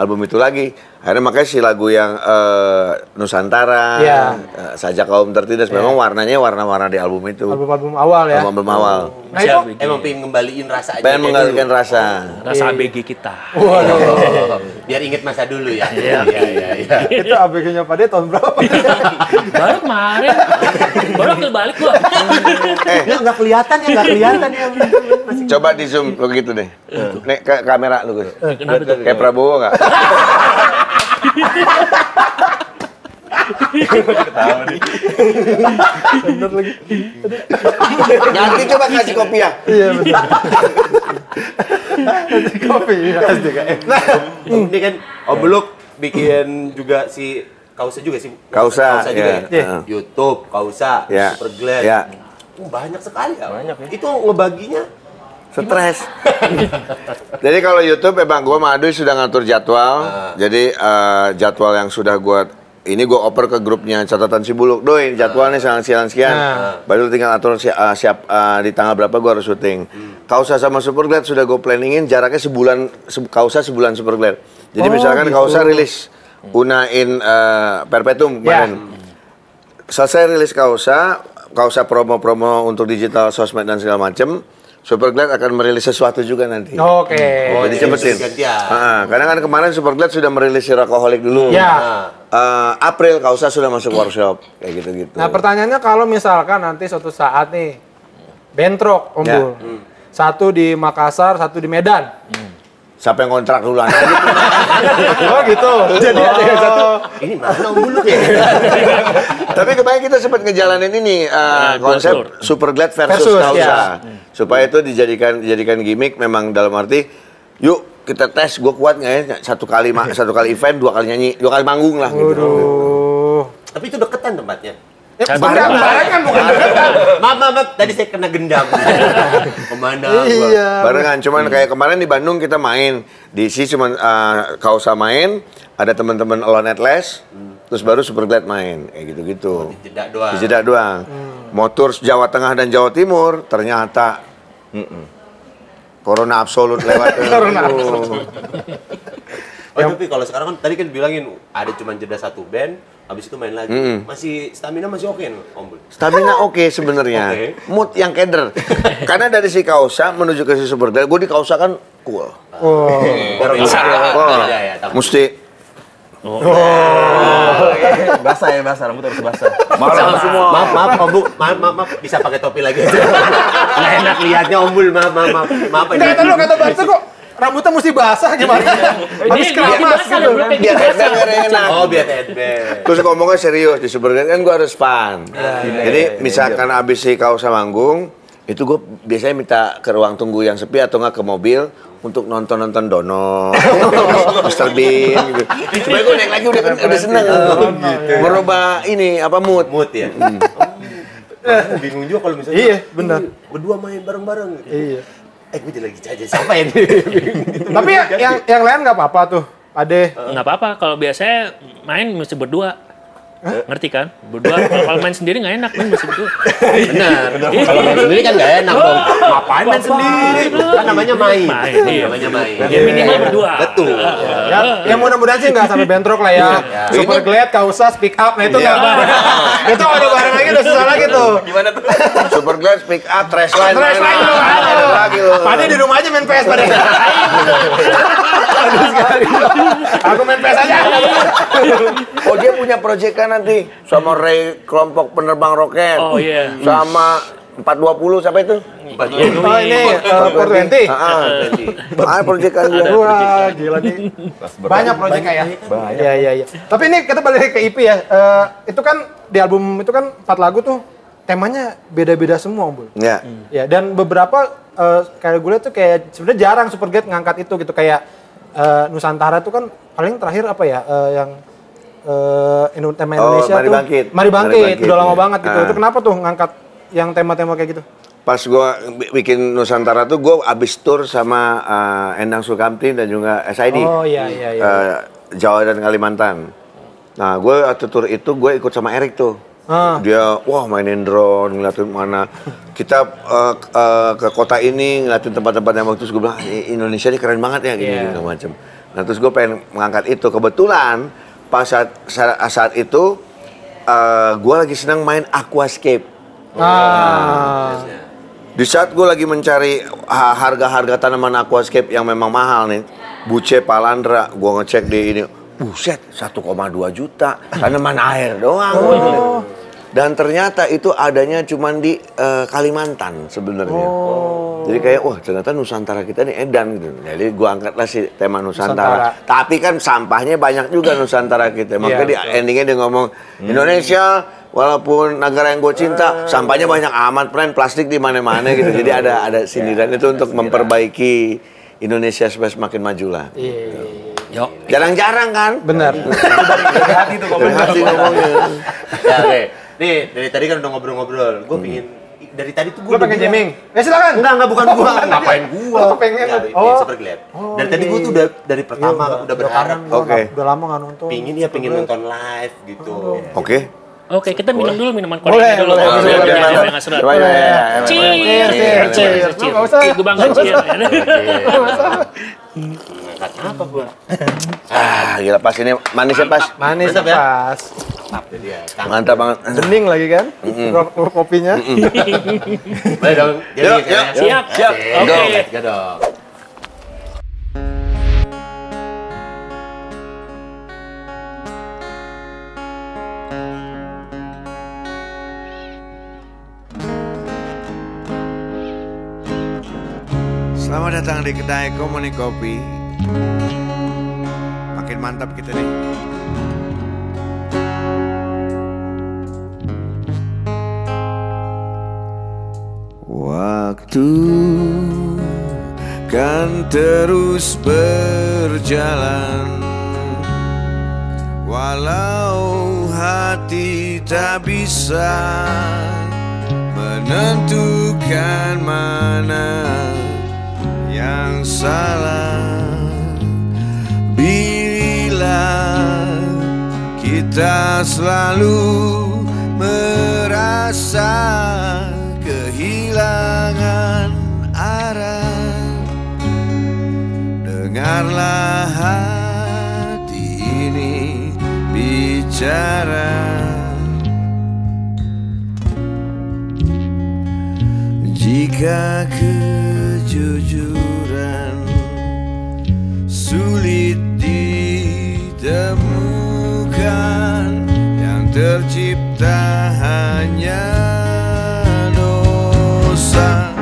Speaker 3: album itu lagi. Akhirnya makanya si lagu yang eh, Nusantara,
Speaker 2: Iya.
Speaker 3: eh, Sajak Kaum Tertindas memang warnanya warna-warna di album itu.
Speaker 2: Album
Speaker 3: Album,
Speaker 2: album awal ya.
Speaker 3: gitu. album awal.
Speaker 2: Nah itu
Speaker 5: Emang pengen ngembaliin rasa aja.
Speaker 3: Pengen
Speaker 5: kayak gitu.
Speaker 3: mengalirkan
Speaker 5: dulu.
Speaker 3: rasa.
Speaker 2: Iya.
Speaker 4: Rasa ABG kita.
Speaker 5: Oh, biar inget masa dulu ya. Iya, iya, iya.
Speaker 2: itu ABG-nya pada tahun berapa?
Speaker 4: Baru kemarin. Baru akil balik gua.
Speaker 3: Eh.
Speaker 5: Ya, nggak kelihatan ya, nggak kelihatan ya.
Speaker 3: Coba di zoom begitu deh. Nih ke kamera lu Gus.
Speaker 4: Kenapa tuh?
Speaker 3: Kayak Prabowo nggak?
Speaker 2: Bener lagi.
Speaker 3: Nanti coba kasih
Speaker 5: ya.
Speaker 3: kopiah.
Speaker 2: Iya bener. Nanti Kopi. iya.
Speaker 5: Nah,
Speaker 3: Hmm.
Speaker 5: ini kan Om Beluk bikin juga si Kausa juga sih.
Speaker 3: Kausa,
Speaker 5: juga
Speaker 3: iya.
Speaker 5: ya.
Speaker 2: Iya.
Speaker 5: YouTube, Kausa,
Speaker 3: Iya.
Speaker 5: Superglad.
Speaker 3: Iya.
Speaker 5: Oh, banyak sekali ya. Itu ngebaginya
Speaker 3: Stres. jadi kalau YouTube emang gue sama Aduy sudah ngatur jadwal. Jadi eh, jadwal yang sudah gue ini gue oper ke grupnya catatan si Buluk. Doi, jadwalnya sekian sekian sekian.
Speaker 2: Ah.
Speaker 3: Baru tinggal atur si- eh, siap eh, di tanggal berapa gue harus syuting. Kausa sama Superglad sudah gue planningin jaraknya sebulan se- Kausa sebulan Superglad. Jadi
Speaker 2: Oh,
Speaker 3: misalkan
Speaker 2: gitu.
Speaker 3: Kausa rilis Unain eh, Perpetuum
Speaker 2: Ya.
Speaker 3: kemarin. selesai rilis kausa, kausa promo-promo untuk digital sosmed dan segala macem, Superglad akan merilis sesuatu juga nanti.
Speaker 2: Oke.
Speaker 5: Oh,
Speaker 3: Jadi
Speaker 5: jadi
Speaker 3: cepetin.
Speaker 5: gantian.
Speaker 3: Ah, karena kan kemarin Superglad sudah merilis si Rockoholic dulu.
Speaker 5: Iya.
Speaker 2: Ya.
Speaker 5: Nah,
Speaker 3: Eh, April kausa sudah masuk workshop kayak gitu-gitu.
Speaker 2: Nah pertanyaannya kalau misalkan nanti suatu saat nih bentrok Om
Speaker 3: Ya.
Speaker 2: Bul.
Speaker 4: Hmm.
Speaker 2: Satu di Makassar, satu di Medan.
Speaker 3: Siapa yang kontrak duluan? Nah, Aja.
Speaker 2: Oh gitu. Jadi ada yang satu.
Speaker 4: Oh.
Speaker 5: ini mana Om Beluk ya?
Speaker 3: Tapi kemarin kita sempat ngejalanin ini eh, konsep
Speaker 4: tour.
Speaker 3: Superglad versus,
Speaker 2: Versus,
Speaker 3: Kausa.
Speaker 2: ya.
Speaker 3: Supaya itu dijadikan dijadikan gimmick memang dalam arti yuk kita tes gue kuat nggak ya satu kali ma- satu kali event dua kali nyanyi dua kali manggung lah gitu.
Speaker 2: Waduh.
Speaker 5: Tapi itu deketan tempatnya.
Speaker 2: Ya,
Speaker 4: Kan
Speaker 2: barang
Speaker 4: bareng.
Speaker 2: barengan bukan
Speaker 5: Maaf, maaf, maaf, tadi saya kena gendam. Kemana? gua?
Speaker 2: Iya.
Speaker 3: Barengan cuman kayak kemarin di Bandung kita main di isi cuman eh, Kausa main ada teman-teman Alone Atlas terus baru Superglad main kayak gitu-gitu.
Speaker 5: Jeda doang. Hmm.
Speaker 3: Dijeda doang. Motor Jawa Tengah dan Jawa Timur ternyata mm-mm. Corona absolut lewat.
Speaker 2: Corona
Speaker 3: Aduh.
Speaker 5: Oh, tapi kalau sekarang kan tadi kan bilangin ada cuma jeda satu band, habis itu main lagi. Masih stamina masih oke nih, Om Bul.
Speaker 3: Stamina oke sebenarnya.
Speaker 5: Oke.
Speaker 3: Mood yang keder. Karena dari si Kausa menuju ke si Superglad, gue di Kausa kan cool.
Speaker 2: Oh.
Speaker 5: Baru ini.
Speaker 3: Cool.
Speaker 5: Iya, iya, tapi-
Speaker 3: Mesti
Speaker 7: Basah ya basah, rambut harus basah. Malam semua.
Speaker 5: Maaf, maaf, Om Bul. Maaf, maaf, maaf. Bisa pakai topi lagi aja. Nggak enak lihatnya, Om Bul. Maaf, maaf, maaf. Maaf, ini.
Speaker 2: Nggak, kata lu kata Barca kok rambutnya mesti basah gimana? Habis
Speaker 4: Ini- ini
Speaker 2: keramas gitu.
Speaker 4: basah, rambutnya
Speaker 3: biar
Speaker 4: kayak gitu
Speaker 3: enak,
Speaker 4: basah.
Speaker 3: biar enak.
Speaker 5: Oh, biar headband.
Speaker 3: Terus ngomongnya serius di Superglad kan gue harus fun. Jadi misalkan abis si Kausa manggung, itu gue biasanya minta ke ruang tunggu yang sepi atau nggak ke mobil untuk nonton-nonton Dono, Mr. Bean gitu. Supaya gue naik lagi udah, udah seneng. Merubah ini apa mood.
Speaker 5: Mood ya. Aku bingung juga kalau misalnya
Speaker 2: Iya, benar.
Speaker 5: ini berdua main bareng-bareng gitu.
Speaker 2: Iya.
Speaker 5: eh gue jadi lagi jajan siapa ya ini?
Speaker 2: Tapi yang yang, yang lain nggak apa-apa tuh. Ade.
Speaker 4: Nggak apa-apa, kalau biasanya main mesti berdua.
Speaker 2: Eh?
Speaker 4: Ngerti kan? Berdua, kalau kalau main sendiri nggak enak, main mesti berdua.
Speaker 2: Iya.
Speaker 4: Iya,
Speaker 5: benar kalau main sendiri kan gak enak dong ngapain main sendiri kan namanya main
Speaker 4: Main, iya.
Speaker 5: namanya main
Speaker 4: Ya
Speaker 2: Iya.
Speaker 4: minimal berdua.
Speaker 5: betul
Speaker 1: Nah,
Speaker 2: Ya, ya mudah-mudahan sih nggak sampai bentrok lah
Speaker 4: Iya,
Speaker 2: ya. Super glad, kausa, speak up, nah itu nggak apa-apa. itu kalau udah bareng lagi udah susah lagi tuh.
Speaker 3: Superglad speak up, trash line.
Speaker 2: Trash line,
Speaker 3: main,
Speaker 2: lu,
Speaker 3: main,
Speaker 2: aduh.
Speaker 3: main lagi lu.
Speaker 2: Pade di rumah aja main PS pada.
Speaker 3: Aku main PS aja. oh dia punya proyekan nanti sama Ray kelompok penerbang roket.
Speaker 4: Oh, iya.
Speaker 3: Sama 420 siapa itu?
Speaker 4: Iya, gue
Speaker 2: Oh ini eh, Port 20.
Speaker 3: Heeh. Ada proyekan dia. ya.
Speaker 2: Wah, gila nih. Banyak proyeknya ya.
Speaker 5: Banyak.
Speaker 2: Iya, iya, iya. Tapi ini kita balik ke IP ya. Eh, itu kan di album itu kan empat lagu tuh temanya beda-beda semua, Bul.
Speaker 3: Ya.
Speaker 2: Ya, dan beberapa eh, kayak gue liat tuh kayak sebenarnya jarang Supergate ngangkat itu gitu kayak eh, Nusantara tuh kan paling terakhir apa ya eh, yang eh Indo- tema
Speaker 3: Oh,
Speaker 2: Indonesia
Speaker 3: Mari
Speaker 2: tuh
Speaker 3: Bangkit.
Speaker 2: Mari Bangkit,
Speaker 3: Mari Bangkit,
Speaker 2: udah lama
Speaker 3: iya.
Speaker 2: banget gitu.
Speaker 3: Ah.
Speaker 2: Itu kenapa tuh ngangkat yang tema-tema kayak gitu?
Speaker 3: Pas gua bi- bikin Nusantara tuh gua abis tour sama eh, Endang Sukamti dan juga SID.
Speaker 2: Oh iya iya iya.
Speaker 3: Eh, Jawa dan Kalimantan. Nah, gue waktu tour itu gue ikut sama Erik tuh.
Speaker 2: Ah.
Speaker 3: Dia wah mainin drone, ngeliatin mana. Kita eh, k- eh, ke kota ini ngeliatin tempat-tempat yang bagus. Gue bilang "I- Indonesia ini keren banget ya gini
Speaker 2: Iya.
Speaker 3: gitu macam. Nah, terus gue pengen mengangkat itu. Kebetulan pas saat sa- saat itu eh, gue lagi senang main aquascape.
Speaker 2: Ah.
Speaker 3: Di saat gue lagi mencari ha- harga-harga tanaman aquascape yang memang mahal nih, buce palandra, gue ngecek di ini, buset 1,2 juta tanaman air doang. Dan ternyata itu adanya cuman di eh, Kalimantan sebenarnya. Jadi kayak wah ternyata Nusantara kita nih edan gitu. Jadi gue angkatlah si tema Nusantara. Tapi kan sampahnya banyak juga Nusantara kita. Makanya di endingnya dia ngomong Indonesia walaupun negara yang gue cinta sampahnya banyak amat pren plastik di mana-mana gitu. Jadi ada Iya, ada sindiran Iya, itu untuk memperbaiki Indonesia supaya semakin maju lah. Gitu.
Speaker 4: Yo.
Speaker 3: Jarang-jarang kan?
Speaker 2: Benar.
Speaker 5: Dari hati tuh
Speaker 3: Dari
Speaker 5: komentar.
Speaker 3: hati ngomongnya.
Speaker 1: ya, oke. Nih, dari tadi kan udah ngobrol-ngobrol. Gue
Speaker 5: Hmm.
Speaker 1: pingin dari tadi tuh gue
Speaker 2: Lu pengen jamming? Ya silakan.
Speaker 1: Enggak, enggak bukan gua. Ngapain gua?
Speaker 2: Lu pengen-
Speaker 1: Enggak,
Speaker 2: oh.
Speaker 1: pengen super glad. dari tadi gua tuh udah dari pertama
Speaker 5: kan
Speaker 1: udah berharap
Speaker 2: Gua
Speaker 3: Oke.
Speaker 2: nggak- Iya, Udah lama nggak nonton.
Speaker 1: pingin ya pingin nonton live gitu. Ya.
Speaker 3: Oke.
Speaker 4: Oke, kita minum dulu minuman
Speaker 2: Boleh,
Speaker 4: Korea dulu.
Speaker 2: boleh,
Speaker 4: Biar-
Speaker 2: boleh,
Speaker 4: biar-
Speaker 2: boleh. Iya,
Speaker 4: biar nggak sedap.
Speaker 3: Coba, ya, ya, ya.
Speaker 4: Cheers,
Speaker 2: Cheers,
Speaker 4: cheers,
Speaker 2: cheers.
Speaker 4: cheers.
Speaker 2: Nggak usah.
Speaker 4: Ih, Gue bangga cheers.
Speaker 1: ya, Ngangkat apa gua?
Speaker 3: Ah, gila pas ini manisnya pas.
Speaker 2: Manis
Speaker 1: Mantap ya.
Speaker 2: pas.
Speaker 1: Mantap jadi ya.
Speaker 3: Mantap banget.
Speaker 2: Bening lagi kan? Rok- Kopinya.
Speaker 1: Boleh dong. Jadi
Speaker 3: Yuk,
Speaker 1: saya-
Speaker 3: yuk,
Speaker 4: Siap, siap. Oke.
Speaker 1: Let's go dong.
Speaker 3: Selamat datang di kedai Komuni Kopi. Makin mantap kita nih. Waktu kan terus berjalan Walau hati tak bisa menentukan mana yang salah Bila kita selalu merasa kehilangan arah Dengarlah hati ini bicara Jika kejujuran sulit ditemukan Yang tercipta hanya dosa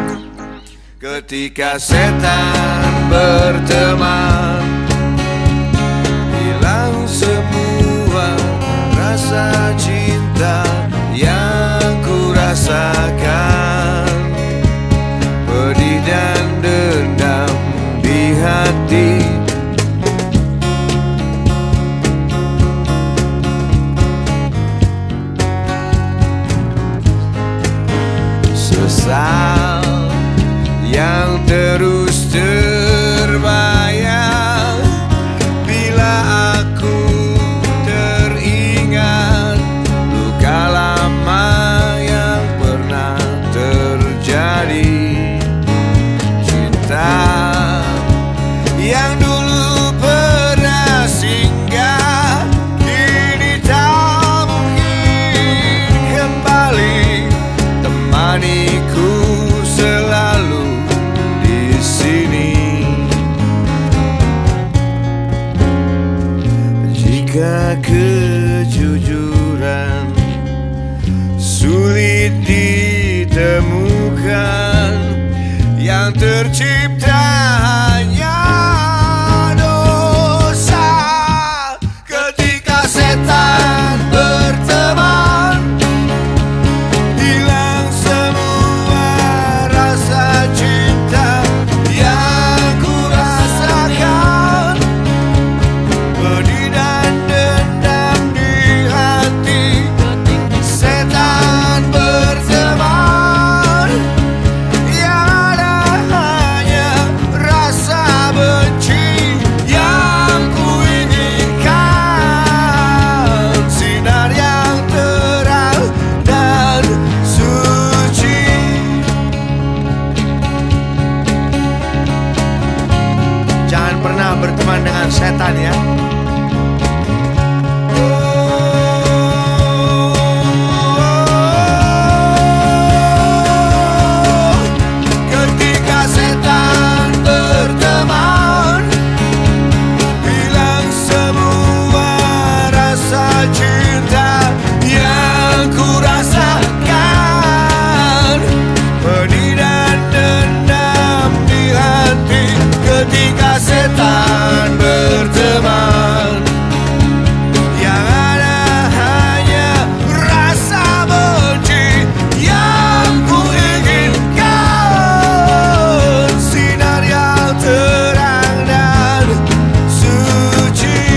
Speaker 3: Ketika setan berteman Hilang semua rasa cinta yang ku rasakan pedih dan dendam di hati Sesal yang terus terbayang Bila aku teringat Luka lama yang pernah terjadi cinta yang dulu pernah singgah kini tak mungkin kembali temaniku selalu di sini
Speaker 8: bukan yang tercipta hanya dosa ketika setan berteman hilang semua rasa cinta yang ku rasakan pedih dan dendam di hati setan berteman yang ada hanya rasa benci yang ku inginkan sinar yang terang dan suci Jangan pernah berteman dengan setan ya. Ketika setan berteman, hilang semua rasa cinta yang ku rasakan. Pedih dan dendam di hati ketika setan berteman Yang ada hanya rasa benci yang ku inginkan Sinar yang terang dan suci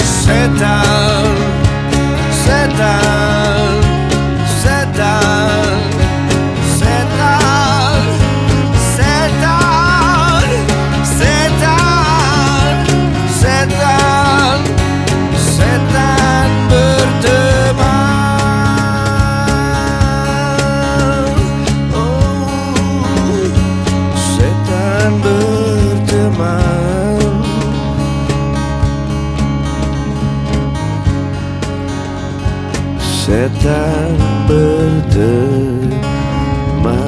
Speaker 8: Setan, setan, setan, setan, setan, setan, setan, setan berteman. Oh, setan berteman. setan berteman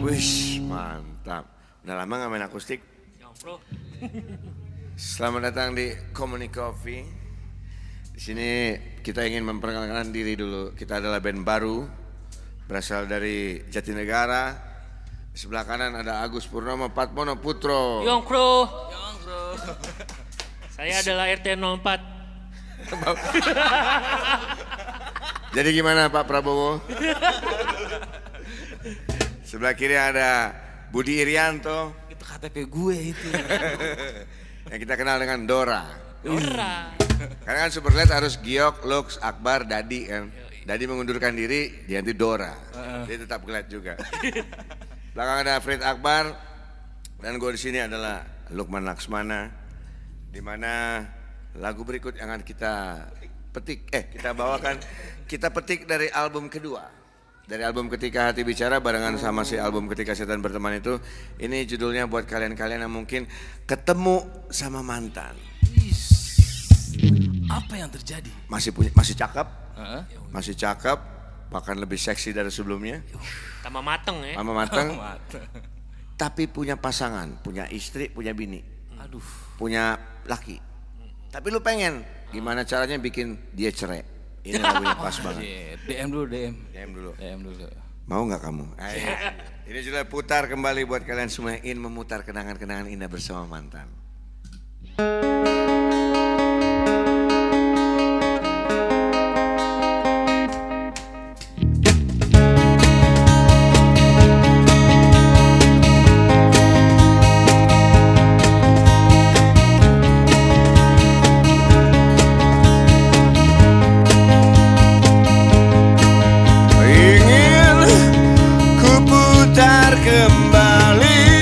Speaker 3: Wih, mantap. Udah lama nggak main akustik? Selamat datang di Comedy Coffee. Di sini kita ingin memperkenalkan diri dulu. Kita adalah band baru, berasal dari Jatinegara. Di sebelah kanan ada Agus Purnomo Patmono Putro.
Speaker 4: Yong Pro. Saya adalah RT 04.
Speaker 3: Jadi gimana Pak Prabowo? Sebelah kiri ada Budi Irianto
Speaker 9: Itu KTP gue itu.
Speaker 3: yang kita kenal dengan Dora.
Speaker 4: Dora.
Speaker 3: Karena kan Superlet harus Giok, Lux, Akbar, Dadi kan. Dadi mengundurkan diri, dia nanti Dora. Dia tetap gelet juga. Belakang ada Fred Akbar dan gue di sini adalah Lukman Laksmana. Di mana lagu berikut yang akan kita petik eh kita bawakan kita petik dari album kedua. Dari album Ketika Hati Bicara barengan sama si album Ketika Setan Berteman itu ini judulnya buat kalian-kalian yang mungkin ketemu sama mantan.
Speaker 9: Apa yang terjadi?
Speaker 3: Masih punya masih cakep, masih cakep, bahkan lebih seksi dari sebelumnya,
Speaker 4: Tambah mateng ya.
Speaker 3: lama matang, tapi punya pasangan, punya istri, punya bini,
Speaker 9: Aduh.
Speaker 3: punya laki. Tapi lu pengen gimana caranya bikin dia cerai? Ini lagunya pas banget.
Speaker 9: Shit. Iya, DM dulu DM.
Speaker 3: DM dulu.
Speaker 9: DM dulu. Iya.
Speaker 3: Mau nggak kamu? Ayo. Ini sudah putar kembali buat kalian semua yang ingin memutar kenangan-kenangan indah bersama mantan.
Speaker 8: Ingin kuputar kembali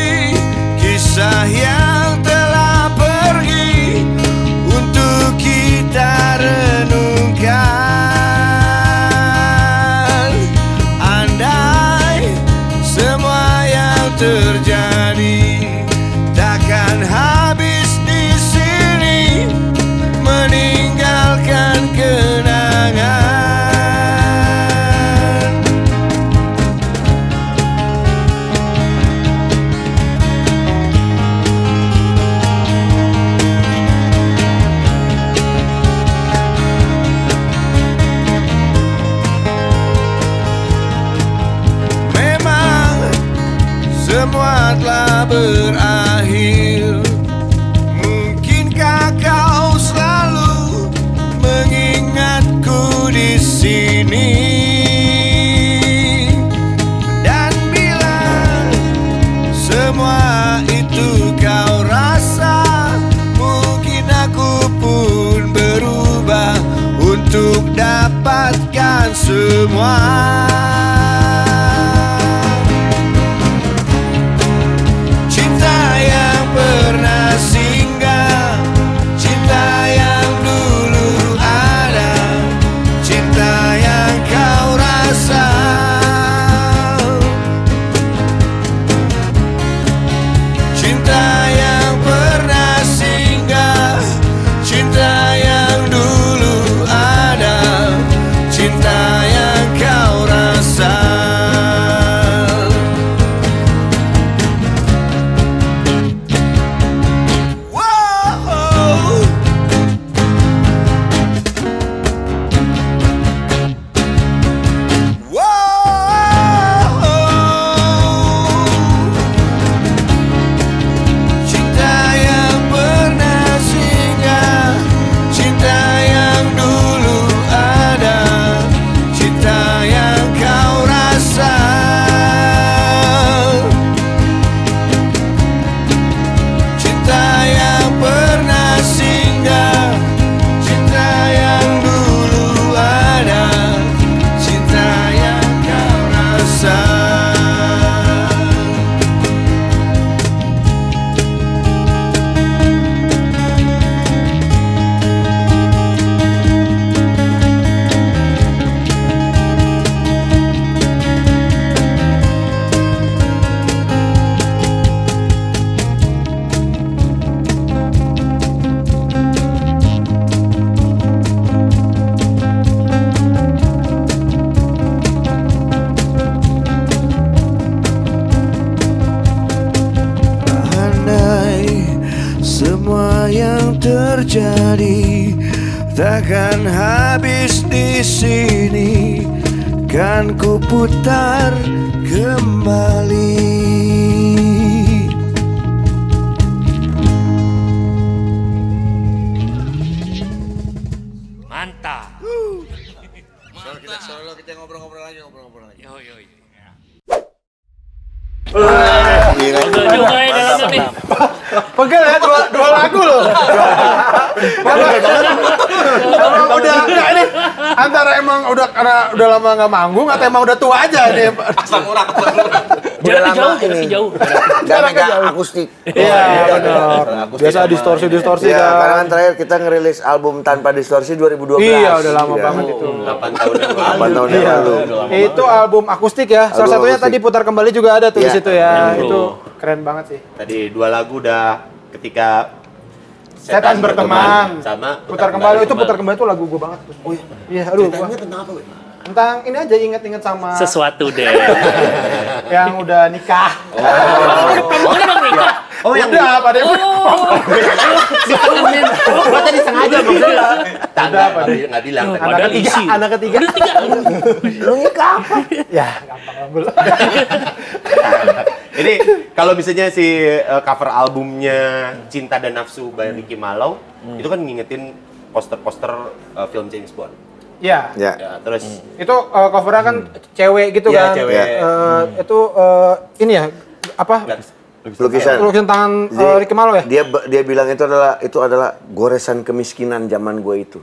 Speaker 8: kisah yang telah pergi berakhir Mungkinkah kau selalu mengingatku di sini Dan bilang semua itu kau rasa Mungkin aku pun berubah Untuk dapatkan semua Cinta yang pernah singgah Cinta yang dulu ada Cinta yang kau rasa Cinta yang pernah singgah Cinta yang dulu ada Cinta yang kau rasa Whoa! Whoa! Cinta yang pernah singgah Cinta yang dulu ada Cinta yang kau rasa Cinta yang pernah singgah Cinta yang dulu ada Cinta yang kau rasa Andai semua yang terjadi takkan habis di sini, kan ku putar kembali.
Speaker 4: Mantap.
Speaker 3: kita ngobrol-ngobrol lagi, ngobrol-ngobrol lagi.
Speaker 4: Yo yo. yo. Udah juga ya dalamnya nih.
Speaker 2: Pegel ya dua, dua lagu loh. emang udah enggak ini antara emang udah karena udah lama nggak manggung atau emang udah tua iya, aja nih.
Speaker 5: Asam urat.
Speaker 4: Jaraknya
Speaker 3: lama
Speaker 4: jauh, jaraknya
Speaker 3: ini.
Speaker 4: jauh.
Speaker 3: Gak megang akustik.
Speaker 2: Iya benar. Biasa distorsi distorsi
Speaker 3: Iya, karena
Speaker 2: kan.
Speaker 3: kan terakhir kita ngerilis album tanpa distorsi 2012.
Speaker 2: Iya udah lama
Speaker 3: Iya.
Speaker 2: banget itu. Iya.
Speaker 5: 8 tahun yang lalu.
Speaker 3: 8 tahun yang
Speaker 1: Iya.
Speaker 3: lalu.
Speaker 2: Itu album akustik ya. Salah
Speaker 3: Album
Speaker 2: satunya
Speaker 3: akustik.
Speaker 2: tadi putar kembali juga ada tuh di
Speaker 3: Iya,
Speaker 2: situ ya.
Speaker 5: yang
Speaker 2: Itu keren banget sih.
Speaker 5: Tadi dua lagu udah ketika
Speaker 2: Setan berteman.
Speaker 5: sama
Speaker 2: Putar kembali itu putar kembali itu lagu gue banget tuh. Oh iya. Iya, aduh. gua- Tentang ini aja inget-inget sama
Speaker 4: Sesuatu deh.
Speaker 2: yang udah nikah.
Speaker 4: Udah bang Rika.
Speaker 2: Oh, yang udah, Pak Dewi.
Speaker 5: Gua tadi sengaja maksudnya. Tanda
Speaker 2: apa
Speaker 5: tapi nggak bilang. tadi.
Speaker 2: Anak
Speaker 4: Padahal
Speaker 2: ketiga,
Speaker 4: isi.
Speaker 2: anak ketiga.
Speaker 4: Udah tiga.
Speaker 2: Ya, gampang lah, Bul.
Speaker 5: Ini kalau misalnya si eh, cover albumnya Cinta dan Nafsu by Ricky Malau itu kan ngingetin poster-poster eh, film James Bond.
Speaker 2: Ya.
Speaker 3: Iya.
Speaker 5: Ya, terus
Speaker 2: Itu eh, covernya kan cewek gitu kan.
Speaker 5: Iya, cewek.
Speaker 2: Eh, itu eh, ini ya apa?
Speaker 5: kan
Speaker 3: Lukisan.
Speaker 2: Lukisan tangan
Speaker 3: Jadi,
Speaker 2: eh, Ricky Malo ya?
Speaker 3: Dia ba- dia bilang itu adalah itu adalah goresan kemiskinan zaman gue itu.